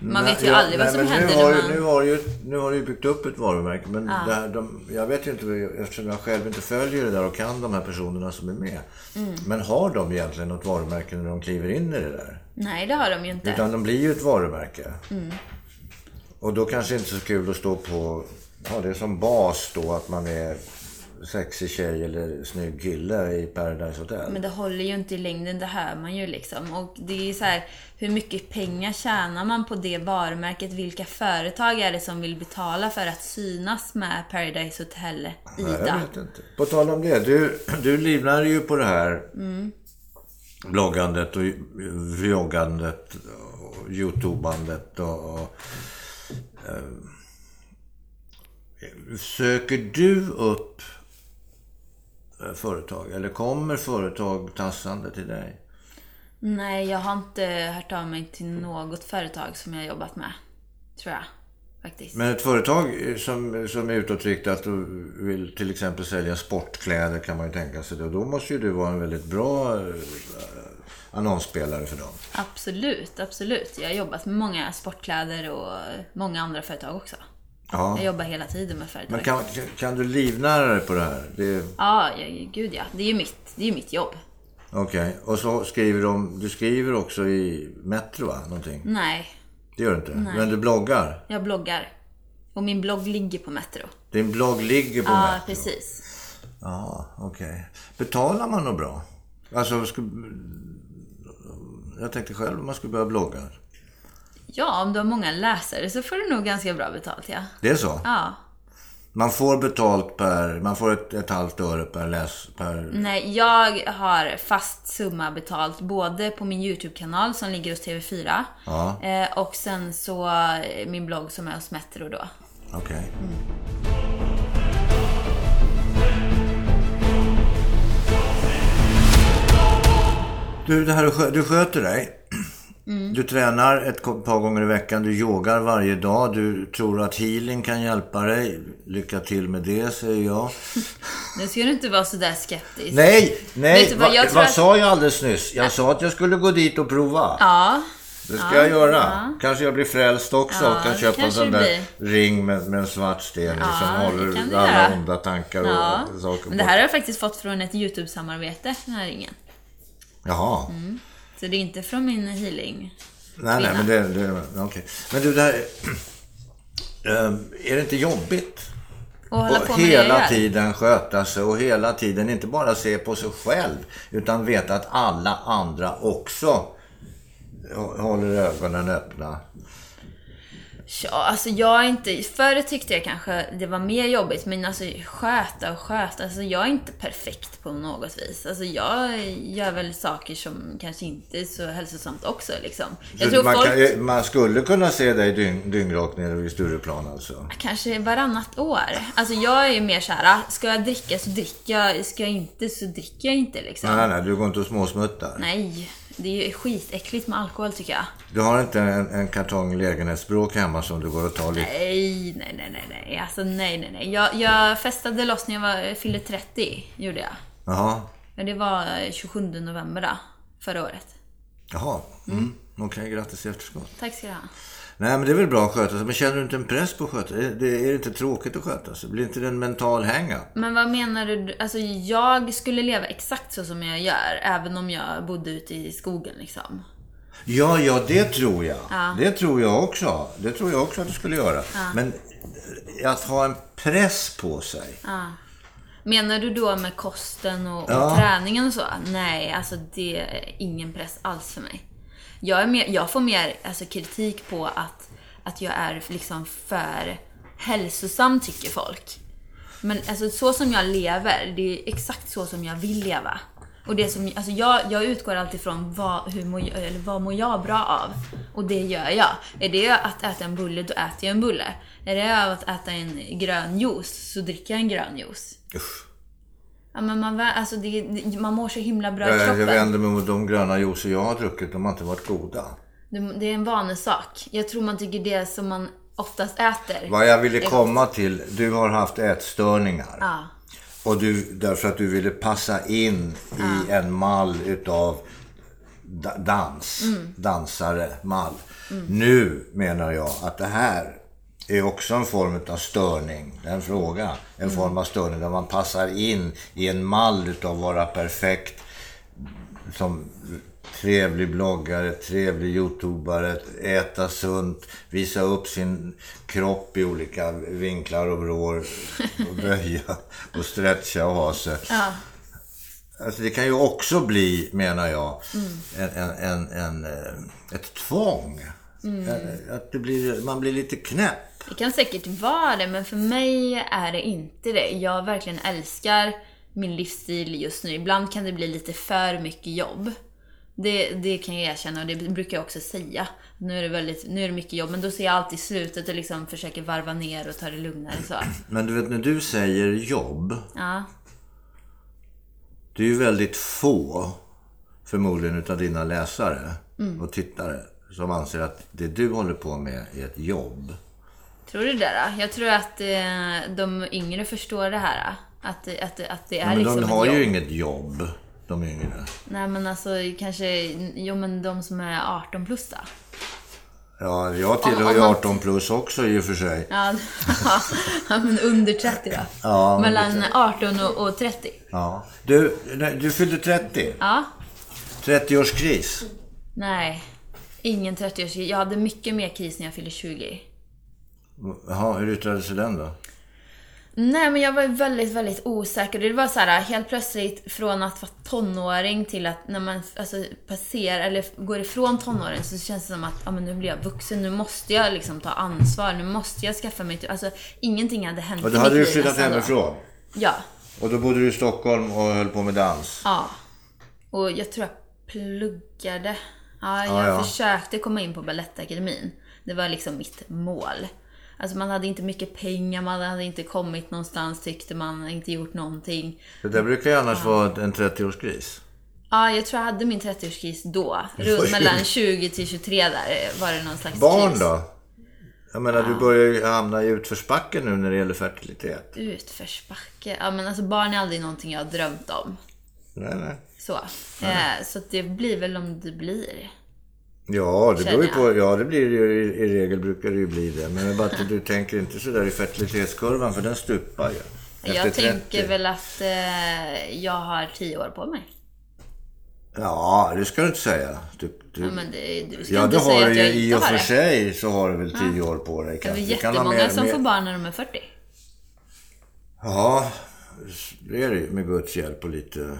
Speaker 2: Man
Speaker 1: Nej,
Speaker 2: vet ju
Speaker 1: ja,
Speaker 2: aldrig vad
Speaker 1: nej,
Speaker 2: som
Speaker 1: men
Speaker 2: händer
Speaker 1: nu har,
Speaker 2: när
Speaker 1: ju-
Speaker 2: man...
Speaker 1: nu, har ju, nu har du ju byggt upp ett varumärke. Men det här, de, jag vet ju inte, eftersom jag själv inte följer det där och kan de här personerna som är med.
Speaker 2: Mm.
Speaker 1: Men har de egentligen något varumärke när de kliver in i det där?
Speaker 2: Nej, det har de ju inte.
Speaker 1: Utan de blir ju ett varumärke.
Speaker 2: Mm.
Speaker 1: Och då kanske inte så kul att stå på, ha det som bas då att man är sexig tjej eller snygg kille i Paradise Hotel.
Speaker 2: Men det håller ju inte i längden, det hör man ju liksom. Och det är så här, hur mycket pengar tjänar man på det varumärket? Vilka företag är det som vill betala för att synas med Paradise Hotel
Speaker 1: Nej, jag
Speaker 2: Ida?
Speaker 1: vet inte. På tal om det, du, du livnär ju på det här bloggandet och vloggandet och youtubandet och, och eh, Söker du upp eh, företag eller kommer företag tassande till dig?
Speaker 2: Nej, jag har inte hört av mig till något företag som jag har jobbat med. Tror jag. Faktiskt.
Speaker 1: Men ett företag eh, som, som är utåtriktat och vill till exempel sälja sportkläder kan man ju tänka sig det. Och då måste ju du vara en väldigt bra eh, annonsspelare för dem.
Speaker 2: Absolut, absolut. Jag har jobbat med många sportkläder och många andra företag också.
Speaker 1: Ja.
Speaker 2: Jag jobbar hela tiden med företag.
Speaker 1: Men kan, kan du livnära dig på det här? Det,
Speaker 2: Ja, jag, gud ja. Det är ju mitt, det är ju mitt jobb.
Speaker 1: Okej. Och så skriver de... Du skriver också i Metro, va? Någonting.
Speaker 2: Nej,
Speaker 1: Det gör du inte. Men du bloggar.
Speaker 2: jag bloggar. Och min blogg ligger på Metro.
Speaker 1: Din blogg ligger på
Speaker 2: Ja,
Speaker 1: Metro.
Speaker 2: precis.
Speaker 1: Ja, okej. Betalar man nog bra? Alltså, skulle... jag tänkte själv om man skulle börja blogga.
Speaker 2: Ja, om du har många läsare så får du nog ganska bra betalt, ja.
Speaker 1: Det är så?
Speaker 2: Ja.
Speaker 1: Man får betalt per... Man får ett, ett halvt öre per läs... Per...
Speaker 2: Nej, jag har fast summa betalt både på min YouTube-kanal som ligger hos TV4
Speaker 1: Ja.
Speaker 2: eh, och sen så eh, min blogg som är hos Metro då.
Speaker 1: Okej. Du, det här, är skö- du sköter dig. Du tränar ett ko- par gånger i veckan, du yogar varje dag, du tror att healing kan hjälpa dig. Lycka till med det, säger jag.
Speaker 2: Nu ska du inte vara sådär skeptisk.
Speaker 1: Nej, nej!
Speaker 2: Vet du vad, jag
Speaker 1: Va,
Speaker 2: tror
Speaker 1: vad
Speaker 2: att-
Speaker 1: sa jag alldeles nyss? Jag sa att jag skulle gå dit och prova.
Speaker 2: Ja,
Speaker 1: Det ska jag göra. Kanske jag blir frälst också
Speaker 2: Ja,
Speaker 1: och kan
Speaker 2: det
Speaker 1: köpa en
Speaker 2: kanske
Speaker 1: sån
Speaker 2: det
Speaker 1: där ring med, med en svart sten i
Speaker 2: Ja,
Speaker 1: som
Speaker 2: det
Speaker 1: håller
Speaker 2: kan du
Speaker 1: alla
Speaker 2: göra.
Speaker 1: onda tankar och
Speaker 2: ja.
Speaker 1: saker
Speaker 2: Men det här har jag faktiskt fått från ett YouTube-samarbete, den här ringen.
Speaker 1: bort. Jaha.
Speaker 2: Mm. Så det är inte från min healing.
Speaker 1: Nej, nej, men det... det okej. Men du, det här... Ehm, är det inte jobbigt?
Speaker 2: Och hålla på
Speaker 1: Och
Speaker 2: med det jag
Speaker 1: hela
Speaker 2: gör.
Speaker 1: tiden sköta sig och hela tiden inte bara se på sig själv utan veta att alla andra också hå- håller ögonen öppna.
Speaker 2: Ja, alltså jag är inte... Förr tyckte jag kanske det var mer jobbigt, men alltså sköta och sköta. Alltså jag är inte perfekt på något vis. Alltså jag gör väl saker som kanske inte är så hälsosamt också liksom. Jag
Speaker 1: Så
Speaker 2: tror
Speaker 1: man,
Speaker 2: folk...
Speaker 1: kan, ju- man skulle kunna se dig dyng, dyngrak nere vid Stureplan alltså.
Speaker 2: Kanske varannat år. Alltså jag är ju mer såhär, ska jag dricka så dricker jag, ska jag inte så dricker jag inte liksom.
Speaker 1: Nej, nej, du går inte och småsmuttar.
Speaker 2: Nej, det är ju skitäckligt med alkohol tycker jag.
Speaker 1: Du har inte en, en kartong lägenhetsbråk hemma som du går och tar lite?
Speaker 2: Nej, nej, nej, nej, nej. Alltså nej, nej, nej. Jag, jag festade loss när jag var, fyllde 30, gjorde jag.
Speaker 1: Jaha.
Speaker 2: Men det var 27 november då, förra året.
Speaker 1: Jaha. Mm. Okej, grattis i efterskott.
Speaker 2: Tack ska du ha.
Speaker 1: Nej, men det är väl bra att sköta sig. Men känner du inte en press på att sköta sig? Är det, är det inte tråkigt att sköta sig? Blir inte det en mental hänga?
Speaker 2: Men vad menar du? Alltså jag skulle leva exakt så som jag gör, även om jag bodde ute i skogen liksom.
Speaker 1: Ja, ja, det tror jag. Det tror jag också. Det tror jag också att du skulle göra. Men att ha en press på sig.
Speaker 2: Menar du då med kosten och, och
Speaker 1: Ja.
Speaker 2: träningen och så? Nej, alltså det är ingen press alls för mig. Jag, är mer, jag får mer alltså, kritik på att, att jag är liksom för hälsosam, tycker folk. Men alltså, så som jag lever, det är exakt så som jag vill leva. Och det som, alltså jag, jag utgår alltid från vad, hur mår, jag- eller vad mår jag bra av? Och det gör jag. Är det att äta en bulle, då äter jag en bulle. Är det att äta en grön juice, så dricker jag en grön juice.
Speaker 1: Usch.
Speaker 2: Ja, men man, vä- alltså det, det- man mår så himla bra i
Speaker 1: Eh, Jag, jag
Speaker 2: kroppen.
Speaker 1: vänder mig mot de gröna juicer jag har druckit. De har inte varit goda.
Speaker 2: Det, det är en vanesak. Jag tror man tycker det som man oftast äter.
Speaker 1: Vad jag ville komma till, du har haft ätstörningar.
Speaker 2: Ja.
Speaker 1: Och du, därför att du ville passa in i en mall utav da- dans, dansare, mall. Nu menar jag att det här är också en form av störning, det är en fråga. En form av störning där man passar in i en mall utav vara perfekt som trevlig bloggare, trevlig youtubare, äta sunt, visa upp sin kropp i olika vinklar och vrår, och böja och stretcha och ha sig.
Speaker 2: Ja.
Speaker 1: Alltså det kan ju också bli, menar jag, en, en, en, en, eh, ett tvång.
Speaker 2: Mm.
Speaker 1: Eh, Att det blir, man blir lite knäpp.
Speaker 2: Det kan säkert vara det, men för mig är det inte det. Jag verkligen älskar min livsstil just nu. Ibland kan det bli lite för mycket jobb. Det, det kan jag erkänna och det brukar jag också säga. Nu är det, väldigt, nu är det mycket jobb, men då ser jag alltid slutet och liksom försöker varva ner och ta det lugnare. Så.
Speaker 1: Men du vet, när du säger jobb,
Speaker 2: Ja.
Speaker 1: det är ju väldigt få, förmodligen utav dina läsare
Speaker 2: Mm.
Speaker 1: och tittare, som anser att det du håller på med är ett jobb.
Speaker 2: Tror du det då? Jag tror att eh, de yngre förstår det här. eh, Att, det- att, det- att det är
Speaker 1: Men
Speaker 2: liksom
Speaker 1: de har
Speaker 2: ett
Speaker 1: ju
Speaker 2: jobb.
Speaker 1: inget jobb, de yngre.
Speaker 2: Nej men alltså kanske, jo men de som är 18 plus då.
Speaker 1: Ja, jag tillhör
Speaker 2: Om-
Speaker 1: ju
Speaker 2: om man-
Speaker 1: 18 plus också i och för sig.
Speaker 2: Ja, ja, men under 30 då.
Speaker 1: Ja, under
Speaker 2: Mellan 18 och, och 30.
Speaker 1: Ja. Du, nej, du fyllde 30.
Speaker 2: Ja.
Speaker 1: 30-årskris.
Speaker 2: Nej. Ingen 30-årskris. Jag hade mycket mer kris när jag fyllde 20.
Speaker 1: Jaha, hur yttrade sig den då?
Speaker 2: Nej, men jag var ju väldigt, väldigt osäker. Det var så här helt plötsligt från att vara tonåring till att när man alltså, passerar eller går ifrån tonåren så känns det som att ja, men nu blir jag vuxen. Nu måste jag liksom ta ansvar. Nu måste jag skaffa mig... Alltså, ingenting hade hänt.
Speaker 1: Och då
Speaker 2: i
Speaker 1: hade du
Speaker 2: mitt liv
Speaker 1: flyttat
Speaker 2: nästan då.
Speaker 1: hemifrån.
Speaker 2: Ja.
Speaker 1: Och då bodde du i Stockholm och höll på med dans.
Speaker 2: Ja. Och jag tror jag pluggade. Ja, jag
Speaker 1: Ja, ja.
Speaker 2: försökte komma in på Balettakademin. Det var liksom mitt mål. Alltså man hade inte mycket pengar, man hade inte kommit någonstans tyckte man, inte gjort någonting.
Speaker 1: Det där brukar ju annars vara en 30-årskris.
Speaker 2: Ja, jag tror jag hade min 30-årskris då. Runt mellan 20 till 23 där var det någon slags
Speaker 1: Barn
Speaker 2: kris.
Speaker 1: då? Jag menar, du börjar ju hamna i utförsbacken nu när det gäller fertilitet.
Speaker 2: Utförsbacke. Ja, men alltså barn är aldrig någonting jag har drömt om.
Speaker 1: Nej, nej.
Speaker 2: Så, eh, så att det blir väl om det blir.
Speaker 1: Ja, det beror ju
Speaker 2: Känner
Speaker 1: på. Ja, det blir det ju, i regel brukar det ju bli det. Men det är bara att du tänker inte sådär i fertilitetskurvan, för den stupar ju.
Speaker 2: jag tänker
Speaker 1: 30.
Speaker 2: väl att eh, jag har 10 år på mig.
Speaker 1: Ja, det ska du inte säga. Du, du...
Speaker 2: Ja, men det, Mm. du ska
Speaker 1: Ja,
Speaker 2: inte
Speaker 1: det
Speaker 2: säga
Speaker 1: har
Speaker 2: att
Speaker 1: du ju
Speaker 2: jag
Speaker 1: i
Speaker 2: inte
Speaker 1: och
Speaker 2: har
Speaker 1: för
Speaker 2: det.
Speaker 1: sig så har du väl tio år på dig.
Speaker 2: Det är
Speaker 1: kanske. Du kan ha
Speaker 2: jättemånga
Speaker 1: mer-
Speaker 2: som
Speaker 1: mer-
Speaker 2: får barn när de är 40.
Speaker 1: Ja, det är det ju med Guds hjälp och lite,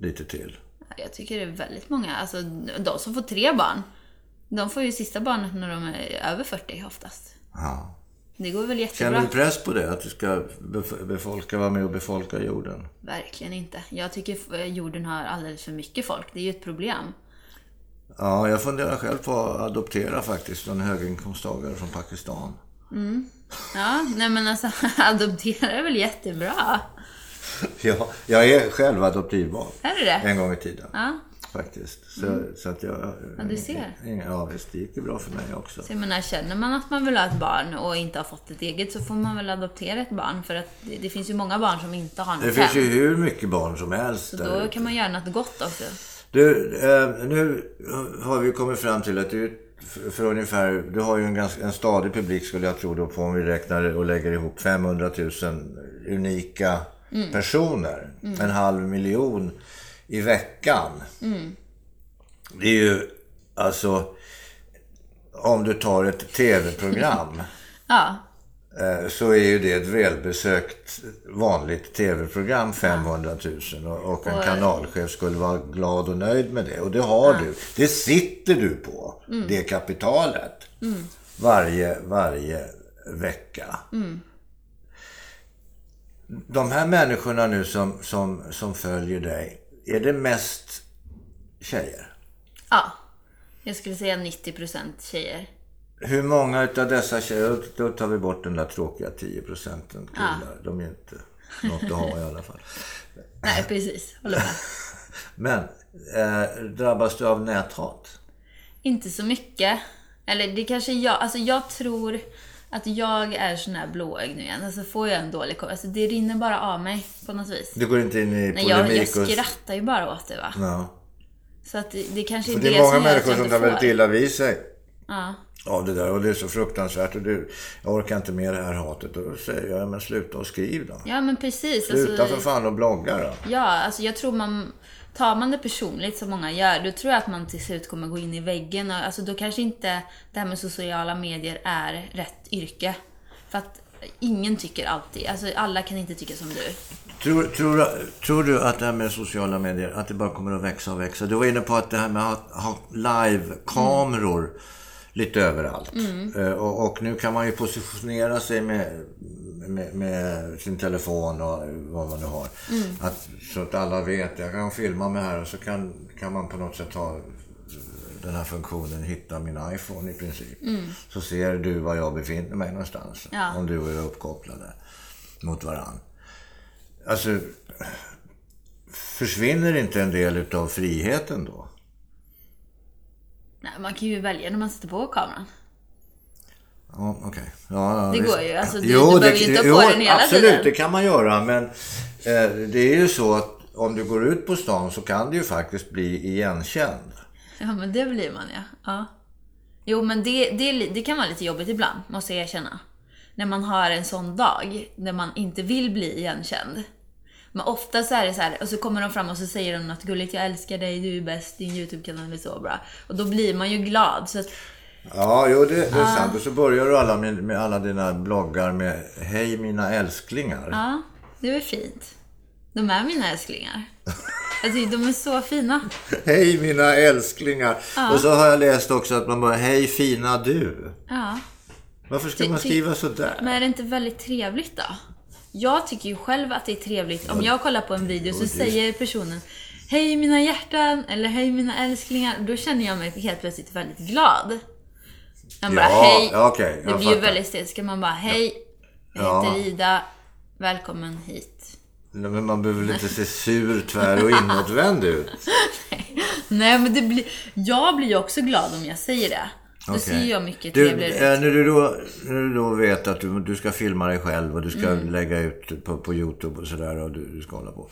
Speaker 1: lite till.
Speaker 2: Ja, Jag tycker det är väldigt många. Alltså, de som får tre barn, de får ju sista barnet när de är över 40 oftast.
Speaker 1: Ja.
Speaker 2: Det går väl jättebra.
Speaker 1: Känner du press på det? Att du ska bef- befolka, vara med och befolka jorden?
Speaker 2: Verkligen inte. Jag tycker eh, jorden har alldeles för mycket folk. Det är ju ett problem.
Speaker 1: Ja, jag funderar själv på att adoptera faktiskt en höginkomsttagare från Pakistan.
Speaker 2: Ja, nej men alltså adoptera är väl jättebra?
Speaker 1: Ja, jag är själv adoptivbarn.
Speaker 2: Är du det?
Speaker 1: En gång i tiden.
Speaker 2: Ja.
Speaker 1: Faktiskt. Så, så att jag... Ja,
Speaker 2: Mm. du ser.
Speaker 1: Ja, visst. Det gick ju bra för mig också.
Speaker 2: Så jag menar, känner man att man vill ha ett barn och inte har fått ett eget så får man väl adoptera ett barn. För att det, det finns ju många barn som inte har något
Speaker 1: Det finns
Speaker 2: hem.
Speaker 1: ju hur mycket barn som helst
Speaker 2: Så
Speaker 1: där
Speaker 2: då
Speaker 1: ute.
Speaker 2: kan man göra något gott också.
Speaker 1: Du, eh, nu har vi kommit fram till att du för- för ungefär, du har ju en, ganska, en stadig publik skulle jag tro då på om vi räknar och lägger ihop 500 000 unika personer. En halv miljon i veckan. Det är ju alltså om du tar ett tv-program
Speaker 2: Ja,
Speaker 1: eh, så är ju det ett välbesökt vanligt tv-program, 500 000 och, och en kanalchef skulle vara glad och nöjd med det. Och det har du. Det sitter du på, det kapitalet, varje, varje vecka. De här människorna nu som, som, som följer dig, är det mest tjejer?
Speaker 2: ja. Jag skulle säga 90% tjejer.
Speaker 1: Hur många utav dessa tjejer, då tar vi bort den där tråkiga 10 procenten killar. De är ju inte något att ha i alla fall.
Speaker 2: Nej, precis. Håller med.
Speaker 1: Men eh, drabbas du av näthat?
Speaker 2: Inte så mycket. Eller det kanske är jag, alltså jag tror att jag är sån här blåögd nu igen. Alltså får jag en dålig kom- alltså det rinner bara av mig på något vis.
Speaker 1: Du går inte in i
Speaker 2: Nej, jag, jag
Speaker 1: polemik
Speaker 2: skrattar ju bara åt det va.
Speaker 1: Ja.
Speaker 2: Så att det, det kanske är
Speaker 1: För
Speaker 2: det,
Speaker 1: det är många
Speaker 2: som gör att
Speaker 1: människor
Speaker 2: jag
Speaker 1: som
Speaker 2: inte
Speaker 1: tar väldigt
Speaker 2: får.
Speaker 1: illa vid sig
Speaker 2: Ja.
Speaker 1: av det där. Och det är så fruktansvärt. Och du, jag orkar inte med det här hatet. Och då säger jag, men sluta och skriv då.
Speaker 2: ja, men precis.
Speaker 1: Sluta
Speaker 2: Alltså,
Speaker 1: för fan och blogga då.
Speaker 2: ja, alltså jag tror man... Tar man det personligt som många gör, då tror jag att man till slut kommer gå in i väggen. Och, alltså, då kanske inte det här med sociala medier är rätt yrke. För att ingen tycker alltid. Alltså, alla kan inte tycka som du.
Speaker 1: Tror, tror, tror du att det här med sociala medier, att det bara kommer att växa och växa? Du var inne på att det här med att ha live-kameror lite överallt. Eh, Och, och nu kan man ju positionera sig med, med, med sin telefon och vad man nu har. Att, så att alla vet. Jag kan filma mig här och så kan, kan man på något sätt ha den här funktionen hitta min iPhone i princip. Så ser du var jag befinner mig någonstans.
Speaker 2: Ja.
Speaker 1: Om du och jag är uppkopplade mot varandra. Alltså, försvinner inte en del utav friheten då?
Speaker 2: Nej, man kan ju välja när man sätter på kameran.
Speaker 1: Ja, okej. Ja, ja,
Speaker 2: Det
Speaker 1: visst.
Speaker 2: går ju. Alltså, du- du behöver ju inte ha på den hela
Speaker 1: absolut,
Speaker 2: tiden.
Speaker 1: det kan man göra. Men eh, det är ju så att om du går ut på stan så kan du ju faktiskt bli igenkänd.
Speaker 2: Ja, men det blir man ja. ja. Jo, men det, det, är li- det kan vara lite jobbigt ibland, måste jag erkänna. När man har en sån dag, när man inte vill bli igenkänd. Men ofta så är det så här, och så kommer de fram och så säger de något gulligt, jag älskar dig, du är bäst, din YouTube-kanal är så bra. Och då blir man ju glad. Så att,
Speaker 1: Ja, jo, det, det är
Speaker 2: Ah.
Speaker 1: sant. Och så börjar du alla med, med alla dina bloggar med Hej mina älsklingar.
Speaker 2: ja, det var fint. De är mina älsklingar. Alltså, de är så fina.
Speaker 1: Hej mina älsklingar.
Speaker 2: Ah.
Speaker 1: Och så har jag läst också att man bara Hej fina du.
Speaker 2: Ja.
Speaker 1: Varför ska
Speaker 2: Ty-
Speaker 1: man
Speaker 2: ty-
Speaker 1: skriva sådär?
Speaker 2: Men är det inte väldigt trevligt då? Jag tycker ju själv att det är trevligt. Om jag kollar på en video så säger personen Hej mina hjärtan eller Hej mina älsklingar. Då känner jag mig helt plötsligt väldigt glad. Man bara
Speaker 1: Ja,
Speaker 2: hej.
Speaker 1: ja, okej, jag
Speaker 2: det blir ju
Speaker 1: fattar.
Speaker 2: väldigt stelt. Ska man bara hej. Jag
Speaker 1: Ja.
Speaker 2: heter Ida. Välkommen hit.
Speaker 1: Nej, men man behöver väl inte se sur, tvär och inåtvänd ut.
Speaker 2: Nej men det blir... Jag blir ju också glad om jag säger det. Då
Speaker 1: Okej.
Speaker 2: ser jag mycket
Speaker 1: du,
Speaker 2: trevligare ut.
Speaker 1: eh, när, du då, när du då vet att du, du ska filma dig själv och du ska
Speaker 2: Mm.
Speaker 1: lägga ut på, på Youtube och sådär och du, du ska hålla på.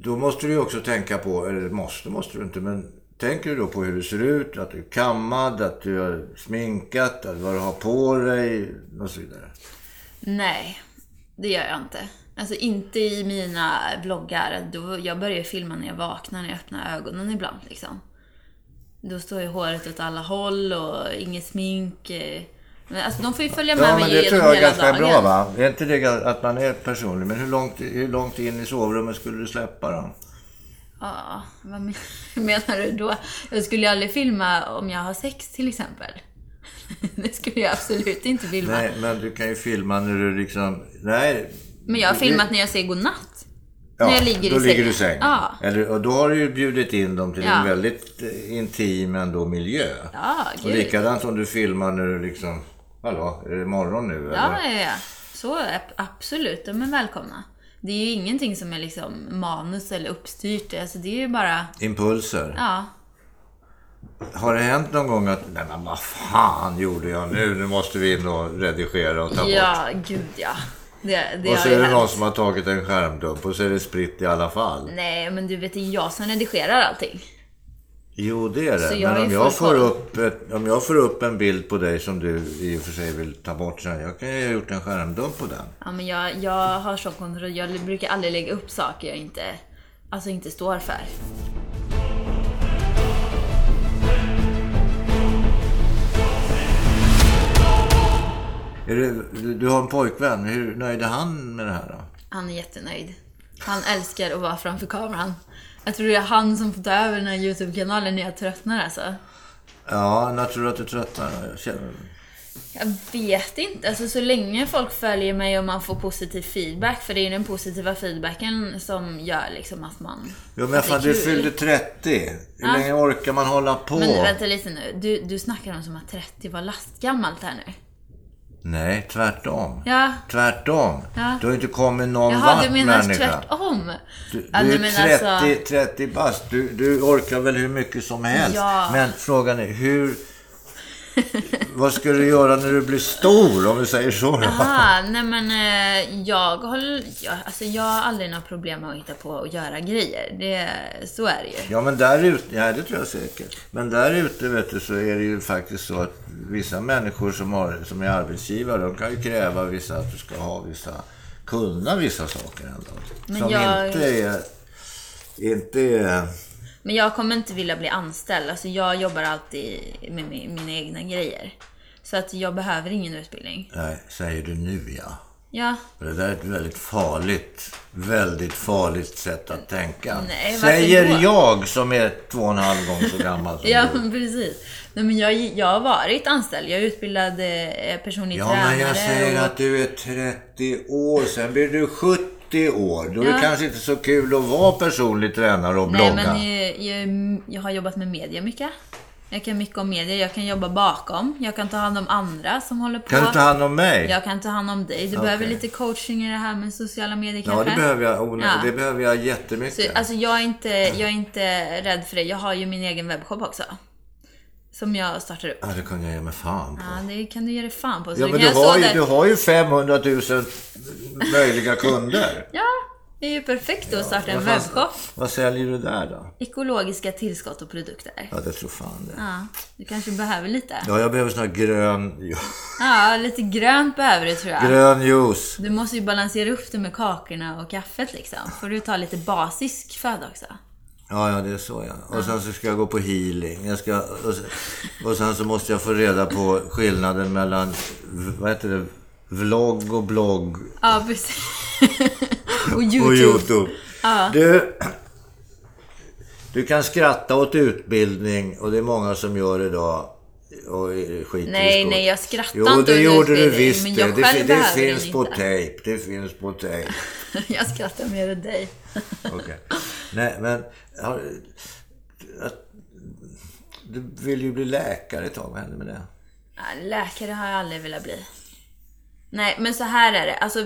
Speaker 1: Då måste du ju också tänka på, eller måste måste du inte, men tänker du då på hur du ser ut, att du är kammad, att du har sminkat, att vad du har på dig och så vidare.
Speaker 2: Nej, det gör jag inte. Alltså inte i mina vloggar. Då, jag börjar filma när jag vaknar, när jag öppnar ögonen ibland. Liksom. Då står ju håret åt alla håll och inget smink. eh. Men alltså, de får ju följa med
Speaker 1: Ja, men
Speaker 2: mig
Speaker 1: det tror
Speaker 2: genom
Speaker 1: jag är
Speaker 2: hela
Speaker 1: ganska
Speaker 2: dagen.
Speaker 1: bra va? Är inte det ga- att man är personlig? Men hur långt, hur långt in i sovrummet skulle du släppa den?
Speaker 2: Ja, vad men- menar du då? Jag skulle ju aldrig filma om jag har sex till exempel. Det skulle jag absolut inte filma.
Speaker 1: Nej, men du kan ju filma när du liksom... Nej.
Speaker 2: Men jag har
Speaker 1: du-
Speaker 2: filmat när jag säger godnatt.
Speaker 1: Ja,
Speaker 2: när jag ligger i
Speaker 1: då ligger
Speaker 2: sängen.
Speaker 1: du i sängen.
Speaker 2: Ja.
Speaker 1: Eller, och då har du ju bjudit in dem till
Speaker 2: Ja.
Speaker 1: en väldigt eh, intim ändå miljö.
Speaker 2: Ja,
Speaker 1: och
Speaker 2: gud.
Speaker 1: likadant om du filmar när du liksom... Hallå, är det morgon nu
Speaker 2: Ja,
Speaker 1: eller?
Speaker 2: ja, ja. Så ab- absolut. De är välkomna. Det är ju ingenting som är liksom manus eller uppstyrt. Alltså det är ju bara...
Speaker 1: Impulser.
Speaker 2: Ja.
Speaker 1: Har det hänt någon gång att, nej men vad fan gjorde jag nu? Nu måste vi in och redigera och ta bort.
Speaker 2: Ja, gud ja. Det, det
Speaker 1: och så
Speaker 2: har
Speaker 1: är
Speaker 2: ju
Speaker 1: det någon
Speaker 2: hänt.
Speaker 1: som har tagit en skärmdump och så är det spritt i alla fall.
Speaker 2: Nej, men du vet, det är jag som redigerar allting.
Speaker 1: Jo, det är det.
Speaker 2: Så jag
Speaker 1: Men
Speaker 2: är
Speaker 1: om
Speaker 2: full
Speaker 1: jag, får
Speaker 2: koll.
Speaker 1: upp ett, om jag får upp en bild på dig som du i och för sig vill ta bort sen. Jag kan ju ha gjort en skärmdump på den.
Speaker 2: Ja, men jag, jag har sån kontroll. Jag brukar aldrig lägga upp saker jag inte, alltså inte står för.
Speaker 1: Är det, du, du har en pojkvän. Hur nöjd är han med det här då?
Speaker 2: Han är jättenöjd. Han älskar att vara framför kameran. Jag tror det är han som får ta över den här YouTube-kanalen när jag tröttnar alltså.
Speaker 1: Ja, när tror du att du tröttnar? Jag känner-
Speaker 2: Jag vet inte. Alltså, så länge folk följer mig och man får positiv feedback, för det är ju den positiva feedbacken som gör liksom att man...
Speaker 1: Jo, men
Speaker 2: att det är
Speaker 1: fan, du
Speaker 2: kul.
Speaker 1: fyllde 30. Hur
Speaker 2: Ja.
Speaker 1: länge orkar man hålla på?
Speaker 2: Men vänta lite nu. Du, du snackar om som att 30 var lastgammalt här nu.
Speaker 1: Nej, tvärtom.
Speaker 2: Ja.
Speaker 1: Tvärtom.
Speaker 2: Ja.
Speaker 1: Du har inte kommit någon
Speaker 2: Jaha,
Speaker 1: vart
Speaker 2: du menar
Speaker 1: människa.
Speaker 2: tvärtom?
Speaker 1: Du,
Speaker 2: Ja,
Speaker 1: du
Speaker 2: nej,
Speaker 1: är
Speaker 2: men
Speaker 1: 30,
Speaker 2: alltså-
Speaker 1: 30 bast. Du, du orkar väl hur mycket som helst.
Speaker 2: Ja.
Speaker 1: Men frågan är hur... Vad ska du göra när du blir stor, om vi säger så? då?
Speaker 2: Aha, nej men eh, jag håller... Jag, alltså jag har aldrig några problem med att hitta på och göra grejer. Det, så är det ju.
Speaker 1: Ja, men där ute, ja det tror jag säkert. Men där ute vet du, så är det ju faktiskt så att vissa människor som, har, som är arbetsgivare, de kan ju kräva vissa att du ska ha vissa, kunna vissa saker ändå.
Speaker 2: Men
Speaker 1: som
Speaker 2: jag-
Speaker 1: inte är, inte är,
Speaker 2: Men jag kommer inte vilja bli anställd. Alltså jag jobbar alltid med mi- mina egna grejer. Så att jag behöver ingen utbildning.
Speaker 1: nej, säger du nu ja.
Speaker 2: Ja,
Speaker 1: För Det där är ett väldigt farligt, väldigt farligt sätt att tänka.
Speaker 2: Nej, varför
Speaker 1: Säger
Speaker 2: då?
Speaker 1: jag som är två och en halv gång så gammal som
Speaker 2: ja
Speaker 1: du.
Speaker 2: men precis. Nej, men jag, jag har varit anställd. Jag är utbildad eh, personlig
Speaker 1: Ja,
Speaker 2: tränare.
Speaker 1: men jag säger
Speaker 2: och-
Speaker 1: att du är 30 år, sen blir du 70 år. Då är det
Speaker 2: Ja.
Speaker 1: kanske inte så kul att vara personlig tränare och
Speaker 2: Nej,
Speaker 1: blogga.
Speaker 2: men eh, jag, jag har jobbat med media mycket. Jag kan mycket om media. Jag kan jobba bakom. Jag kan ta hand om andra som håller på.
Speaker 1: Kan du ta hand om mig?
Speaker 2: Jag kan ta hand om dig. Du behöver lite coaching i det här med sociala medier
Speaker 1: ja,
Speaker 2: kanske?
Speaker 1: det behöver jag. Oh, nej,
Speaker 2: Ja.
Speaker 1: Det behöver jag jättemycket.
Speaker 2: Så, alltså jag är, inte, jag är inte rädd för det. Jag har ju min egen webbshop också. Som jag startar upp.
Speaker 1: ja, det kunde jag ge mig fan på.
Speaker 2: Ja, det kan du ge dig fan på. Så
Speaker 1: Ja,
Speaker 2: då
Speaker 1: men
Speaker 2: kan
Speaker 1: du
Speaker 2: jag stå
Speaker 1: har, ju,
Speaker 2: där-
Speaker 1: du har ju 500 000 möjliga kunder.
Speaker 2: Ja, det Det är ju perfekt att starta en
Speaker 1: Vad fan-
Speaker 2: webbshop.
Speaker 1: Vad säljer du där då?
Speaker 2: Ekologiska tillskott och produkter.
Speaker 1: Ja, det tror fan det.
Speaker 2: Ja, du kanske behöver lite.
Speaker 1: Ja, jag behöver sån här grön,
Speaker 2: Ja, lite grönt behöver du tror jag.
Speaker 1: grön juice.
Speaker 2: Du måste ju balansera upp det med kakorna och kaffet liksom. Får du ta lite basisk föda också.
Speaker 1: Ja, ja, det är så ja. Och sen så ska jag gå på healing. Jag ska, och, sen, och sen så måste jag få reda på skillnaden mellan, v- vad heter det, vlogg och blogg
Speaker 2: Ja, precis. och
Speaker 1: och
Speaker 2: YouTube.
Speaker 1: YouTube. Du, du kan skratta åt utbildning och det är många som gör idag. Och skiter i
Speaker 2: Nej,
Speaker 1: skol-
Speaker 2: nej, jag skrattar
Speaker 1: Jo,
Speaker 2: inte
Speaker 1: det
Speaker 2: åt
Speaker 1: gjorde du
Speaker 2: utbildning,
Speaker 1: visst
Speaker 2: men
Speaker 1: det.
Speaker 2: jag
Speaker 1: Det,
Speaker 2: själv
Speaker 1: fi- det
Speaker 2: behöver
Speaker 1: finns
Speaker 2: den
Speaker 1: på
Speaker 2: inte.
Speaker 1: tejp. Det finns på tejp.
Speaker 2: jag skrattar mer än dig.
Speaker 1: Okej. Nej, men... Har, att, du vill ju bli läkare ett tag. Vad hände med det?
Speaker 2: Ja, Läkare har jag aldrig velat bli. Nej, men så här är det. Alltså,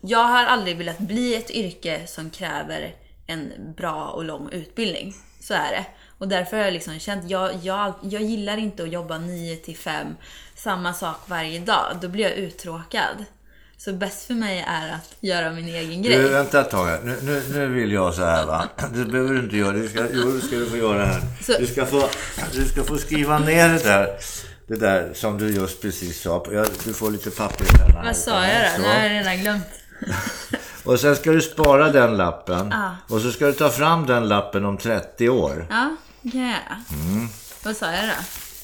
Speaker 2: jag har aldrig velat bli ett yrke som kräver en bra och lång utbildning. Så är det. Och därför har jag liksom känt, jag, jag, jag gillar inte att jobba 9 till 5, samma sak varje dag. Då blir jag uttråkad. Så bäst för mig är att göra min egen grej.
Speaker 1: Du, vänta ett tag här. Nu, nu, nu vill jag så här va. Det behöver du inte göra. Du ska, jo, det ska du få göra här.
Speaker 2: Så-
Speaker 1: Du ska få, du ska få skriva ner det där. Det där som du just precis sa. Jag, du får lite papper i pennan.
Speaker 2: Vad sa jag
Speaker 1: Så.
Speaker 2: då? Nu har jag redan glömt.
Speaker 1: Och sen ska du spara den lappen.
Speaker 2: Ja.
Speaker 1: Och så ska du ta fram den lappen om 30 år.
Speaker 2: Ja, det kan jag göra. Vad sa jag då?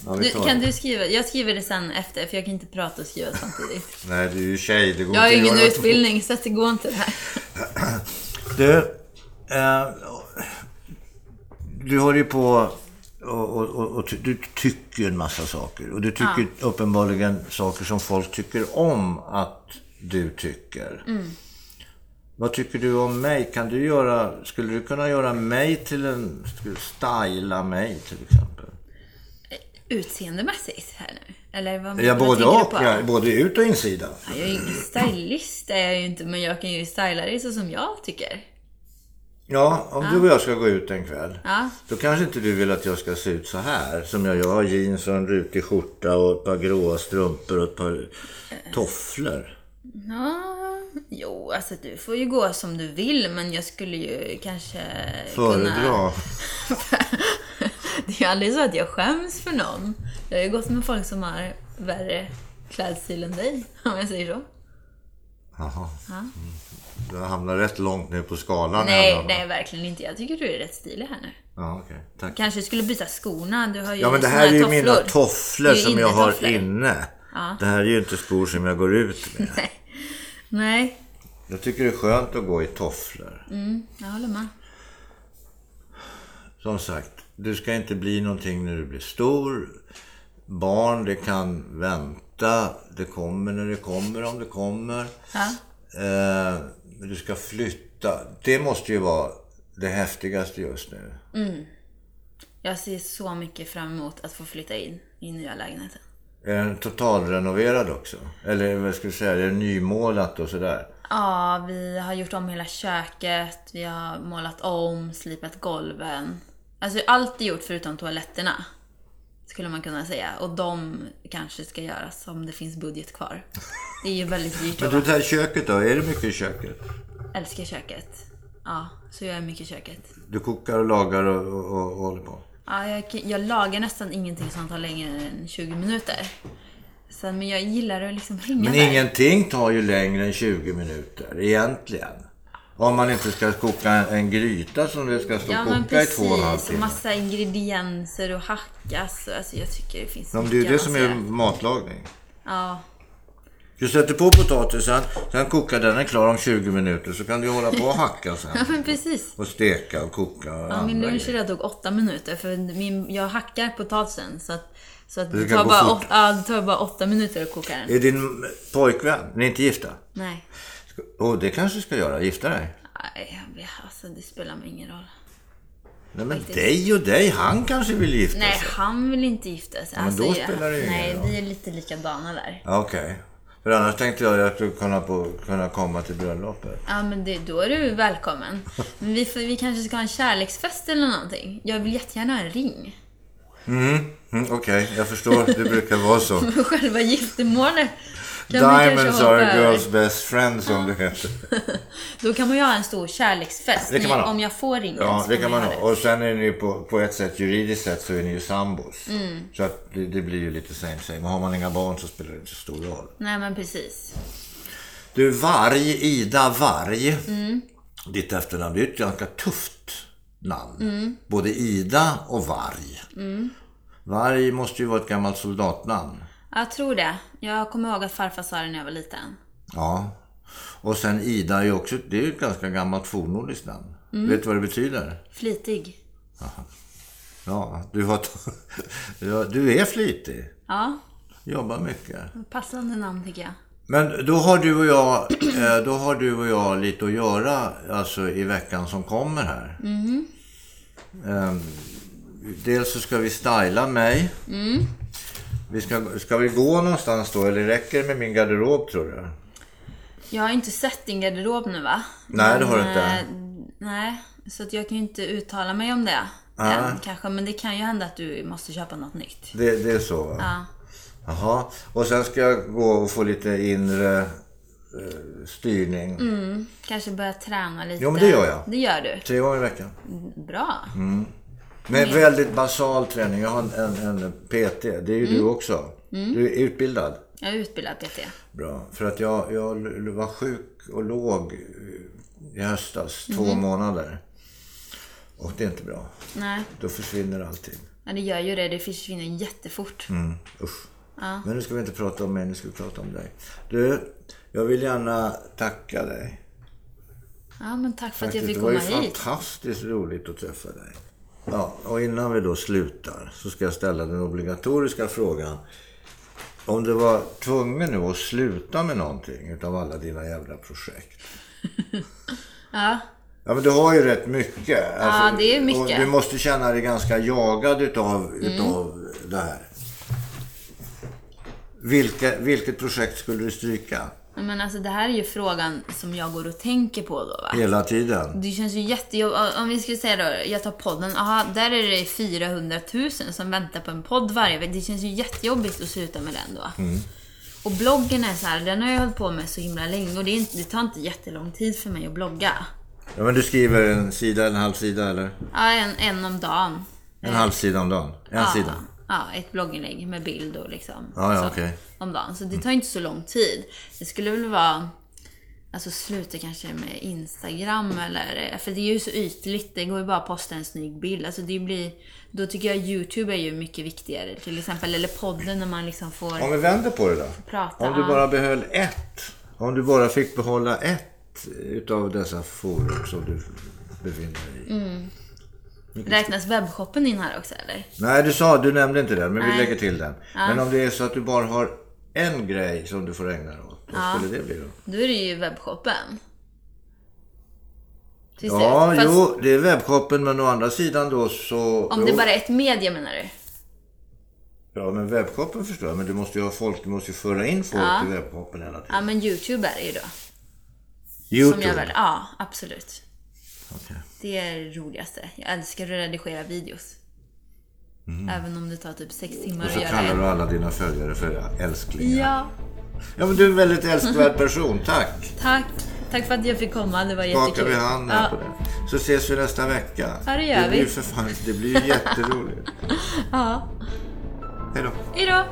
Speaker 1: Ja, vi
Speaker 2: du,
Speaker 1: tar
Speaker 2: kan
Speaker 1: det.
Speaker 2: du skriva? Jag skriver det sen efter, för jag kan inte prata och skriva samtidigt.
Speaker 1: Nej, du är ju tjej. Det går
Speaker 2: Jag har ju
Speaker 1: inte att
Speaker 2: ingen
Speaker 1: göra två-
Speaker 2: utbildning, så att det går inte det här.
Speaker 1: Du, eh, du håller ju på och, och, och, och ty- du tycker en massa saker. Och du tycker uppenbarligen saker som folk tycker om att du tycker.
Speaker 2: Mm.
Speaker 1: Vad tycker du om mig? Kan du göra, skulle du kunna göra mig till en... Skulle du styla mig till exempel?
Speaker 2: Utseendemässigt här nu? Eller vad,
Speaker 1: Ja,
Speaker 2: vad
Speaker 1: både
Speaker 2: tänker du
Speaker 1: och.
Speaker 2: på?
Speaker 1: Ja, både ut och insida.
Speaker 2: Ja, Jag är ju ingen stylist, det är jag ju inte, men jag kan ju styla dig så som jag tycker.
Speaker 1: Ja, om du och jag ska gå ut en kväll.
Speaker 2: Ja.
Speaker 1: Då kanske inte du vill att jag ska se ut så här. Som jag gör. Jag har jeans och en rutig skjorta och ett par gråa strumpor och ett par tofflor.
Speaker 2: Ja, jo, alltså du får ju gå som du vill, men jag skulle ju kanske kunna...
Speaker 1: Föredra.
Speaker 2: Det är ju aldrig så att jag skäms för någon. Jag har ju gått med folk som har värre klädstil än dig, om jag säger så.
Speaker 1: Jaha. Mm. Du hamnar rätt långt ner på skalan.
Speaker 2: Nej,
Speaker 1: ändå.
Speaker 2: nej, verkligen inte. Jag tycker du är rätt stilig här nu.
Speaker 1: Ja, okej. Tack.
Speaker 2: Kanske skulle byta skorna. Du har ju
Speaker 1: Ja, men det
Speaker 2: såna
Speaker 1: här är ju
Speaker 2: tofflor.
Speaker 1: mina tofflor
Speaker 2: Det är ju
Speaker 1: som jag har
Speaker 2: innetofflor.
Speaker 1: inne.
Speaker 2: Ja.
Speaker 1: Det här är ju inte skor som jag går ut med.
Speaker 2: Nej. nej,
Speaker 1: Jag tycker det är skönt att gå i tofflor.
Speaker 2: mm, jag håller med.
Speaker 1: Som sagt, du ska inte bli någonting när du blir stor. Barn, det kan vänta. Det kommer när det kommer, om det kommer.
Speaker 2: Ja.
Speaker 1: Eh, men du ska flytta. Det måste ju vara det häftigaste just nu.
Speaker 2: Jag ser så mycket fram emot att få flytta in i nya lägenheten.
Speaker 1: Är den totalrenoverad också? Eller vad ska jag säga, är det nymålat och sådär?
Speaker 2: Ja, vi har gjort om hela köket, vi har målat om, slipat golven. Alltså allt är gjort förutom toaletterna. Skulle man kunna säga. Och de kanske ska göras om det finns budget kvar. Det är ju väldigt dyrt
Speaker 1: Men
Speaker 2: att
Speaker 1: du, det här köket då? Är det mycket i köket?
Speaker 2: älskar köket. Ja, så gör jag mycket i köket.
Speaker 1: Du kokar och lagar och, och, och, håller på?
Speaker 2: Ja, jag, kan- jag lagar nästan ingenting som tar längre än 20 minuter. Sen, men jag gillar att liksom hänga
Speaker 1: Men
Speaker 2: där.
Speaker 1: ingenting tar ju längre än 20 minuter egentligen. Om man inte ska koka en, en gryta som det ska stå
Speaker 2: Ja
Speaker 1: och
Speaker 2: men
Speaker 1: koka i två och en halv
Speaker 2: precis, och
Speaker 1: timme.
Speaker 2: massa ingredienser och hackas. och Alltså jag tycker det finns
Speaker 1: Men Det är ju det
Speaker 2: att alltså.
Speaker 1: som
Speaker 2: säga.
Speaker 1: är matlagning.
Speaker 2: Ja,
Speaker 1: Du sätter på potatisen, sen kokar den, den är klar om 20 minuter. Så kan du hålla på och hacka
Speaker 2: ja
Speaker 1: sen.
Speaker 2: men precis.
Speaker 1: Och steka och koka och
Speaker 2: Ja, min
Speaker 1: andra
Speaker 2: lunch
Speaker 1: grejer.
Speaker 2: idag tog åtta minuter för min, jag hackar potatisen så att, så att det,
Speaker 1: kan
Speaker 2: tar
Speaker 1: gå
Speaker 2: bara
Speaker 1: fort.
Speaker 2: åt, ja, det tar bara åtta minuter att koka den.
Speaker 1: Är din pojkvän, ni är inte gifta?
Speaker 2: Nej.
Speaker 1: Ska- Och det kanske du ska göra, gifta dig?
Speaker 2: Nej, jag vet- alltså det spelar mig ingen roll.
Speaker 1: Nej men dig och dig, han kanske vill gifta sig?
Speaker 2: Nej, han vill inte gifta
Speaker 1: Alltså.
Speaker 2: sig. Alltså,
Speaker 1: men då
Speaker 2: jag-
Speaker 1: spelar det ju ingen
Speaker 2: Nej,
Speaker 1: roll.
Speaker 2: vi är lite likadana där.
Speaker 1: Ja, Okej. För annars tänkte jag att du kunde på- kunna komma till bröllopet.
Speaker 2: Ja, men det, då är du välkommen. Men vi, får, vi kanske ska ha en kärleksfest eller någonting. Jag vill jättegärna ha en ring.
Speaker 1: Mm, Okej, jag förstår. Det brukar vara så.
Speaker 2: Själva giftermålet. Kan vi kanske
Speaker 1: Diamonds
Speaker 2: hoppa
Speaker 1: are a
Speaker 2: över?
Speaker 1: girl's best friend som det heter.
Speaker 2: Då kan man ju ha en stor kärleksfest.
Speaker 1: Det kan man ha.
Speaker 2: Om jag får ringen
Speaker 1: Ja,
Speaker 2: så
Speaker 1: det
Speaker 2: får
Speaker 1: kan man ha.
Speaker 2: det.
Speaker 1: Och sen är ni ju på, på ett sätt, juridiskt sett, så är ni ju sambos. Så att det, det blir ju lite same same. Och har man inga barn så spelar det inte så stor roll.
Speaker 2: Nej men precis.
Speaker 1: Du, Varg, Ida Varg. Ditt efternamn, det är ju ett ganska tufft namn. Både Ida och Varg. Varg måste ju vara ett gammalt soldatnamn.
Speaker 2: Jag tror det. Jag kommer ihåg att farfar sa det när jag var liten.
Speaker 1: Ja. Och sen Ida är ju också, det är ju ett ganska gammalt fornnordiskt namn. Vet du vad det betyder?
Speaker 2: Flitig.
Speaker 1: Ja, du, har ja, du är flitig.
Speaker 2: Ja,
Speaker 1: Jobbar mycket.
Speaker 2: passande namn tycker jag.
Speaker 1: Men då har du och jag, eh, då har du och jag lite att göra alltså, i veckan som kommer här. Ehm, Dels så ska vi styla mig. Vi ska, ska vi gå någonstans då eller räcker det med min garderob tror du?
Speaker 2: Jag har ju inte sett din garderob nu va?
Speaker 1: Nej, det har du
Speaker 2: Men,
Speaker 1: inte.
Speaker 2: eh, Nej, så att jag kan ju inte uttala mig om det. Än, kanske, men det kan ju hända att du måste köpa något nytt.
Speaker 1: Det, det är så va?
Speaker 2: Ja.
Speaker 1: Jaha. Och sen ska jag gå och få lite inre eh, styrning.
Speaker 2: Kanske börja träna lite.
Speaker 1: Jo, men det gör jag.
Speaker 2: Det gör du.
Speaker 1: Tre gånger i veckan.
Speaker 2: Bra.
Speaker 1: Men väldigt basal träning. Jag har en, en, en PT. Det är ju du också. Du är utbildad.
Speaker 2: Jag är utbildad PT.
Speaker 1: Bra, för att jag, jag l- var sjuk och låg eh, i höstas två månader. Och det är inte bra.
Speaker 2: Nej,
Speaker 1: Då försvinner allting.
Speaker 2: men det gör ju det. Det försvinner jättefort.
Speaker 1: Mm, usch. Men nu ska vi inte prata om mig, nu ska vi prata om dig. Du, jag vill gärna tacka dig.
Speaker 2: Ja, men tack för att jag
Speaker 1: Faktiskt,
Speaker 2: fick
Speaker 1: det var
Speaker 2: komma
Speaker 1: ju
Speaker 2: hit.
Speaker 1: fantastiskt roligt att träffa dig. Ja, och innan vi då slutar så ska jag ställa den obligatoriska frågan. Om du var tvungen nu att sluta med någonting utav alla dina jävla projekt.
Speaker 2: Ja,
Speaker 1: Ja, men du har ju rätt mycket. Alltså,
Speaker 2: det är mycket. Mm.
Speaker 1: och Du måste känna dig ganska jagad utav, utav det här. Vilka, vilket projekt skulle du stryka?
Speaker 2: men alltså det här är ju frågan som jag går och tänker på då va?
Speaker 1: Hela tiden?
Speaker 2: Det känns ju jättejobbigt. Om vi skulle säga då, jag tar podden. Aha, där är det 400 000 som väntar på en podd varje vecka. Det känns ju jättejobbigt att sluta med den då. Och bloggen är så här, den har jag hållit på med så himla länge och det, är inte, det tar inte jättelång tid för mig att blogga.
Speaker 1: Ja, men du skriver en sida, en halv sida eller?
Speaker 2: Ja, en, en om dagen.
Speaker 1: En halv sida om dagen? En
Speaker 2: ja,
Speaker 1: sida?
Speaker 2: Ja, ett blogginlägg med bild och liksom.
Speaker 1: Ja, ja,
Speaker 2: så,
Speaker 1: okej.
Speaker 2: Om dagen. Så det tar inte så lång tid. Det skulle väl vara... Alltså sluta kanske med Instagram eller... För det är ju så ytligt. Det går ju bara att posta en snygg bild. Alltså det blir... Då tycker jag YouTube är ju mycket viktigare till exempel. Eller podden när man liksom får...
Speaker 1: Om vi vänder på det då?
Speaker 2: Prata.
Speaker 1: Om du bara behöll ett? Om du bara fick behålla ett utav dessa forum som du befinner dig
Speaker 2: Mm.
Speaker 1: i?
Speaker 2: Räknas webbshoppen in här också eller?
Speaker 1: Nej, du sa, du nämnde inte den, men vi
Speaker 2: Nej.
Speaker 1: lägger till den. Men om det är så att du bara har en grej som du får ägna dig åt, vad skulle det bli då?
Speaker 2: Då är det ju webbshoppen. Till
Speaker 1: Ja,
Speaker 2: slut. Fast
Speaker 1: jo, det är webbshoppen, men å andra sidan då så...
Speaker 2: Om
Speaker 1: jo,
Speaker 2: det bara är ett media menar du?
Speaker 1: Ja, men webbshoppen förstår jag, men du måste ju ha folk, du måste ju föra in folk i webbshoppen hela tiden.
Speaker 2: Ja, men YouTube är det ju då. Som jag
Speaker 1: Youtube.
Speaker 2: väl, ja, absolut.
Speaker 1: Okej.
Speaker 2: Det är det roligaste. Jag älskar att redigera videos. Även om det tar typ sex timmar
Speaker 1: Mm. Och så
Speaker 2: att göra
Speaker 1: kallar
Speaker 2: en.
Speaker 1: du alla dina följare för älsklingar. Ja.
Speaker 2: Ja,
Speaker 1: men du är en väldigt älskvärd person, tack!
Speaker 2: tack. Tack för att jag fick komma. Det var
Speaker 1: Skakar
Speaker 2: jättekul.
Speaker 1: vi hand här
Speaker 2: ja.
Speaker 1: på det. Så ses vi nästa vecka.
Speaker 2: Ja, det gör
Speaker 1: det blir
Speaker 2: vi.
Speaker 1: för fan, det blir ju jätteroligt.
Speaker 2: Ja.
Speaker 1: Hej då.
Speaker 2: Hejdå!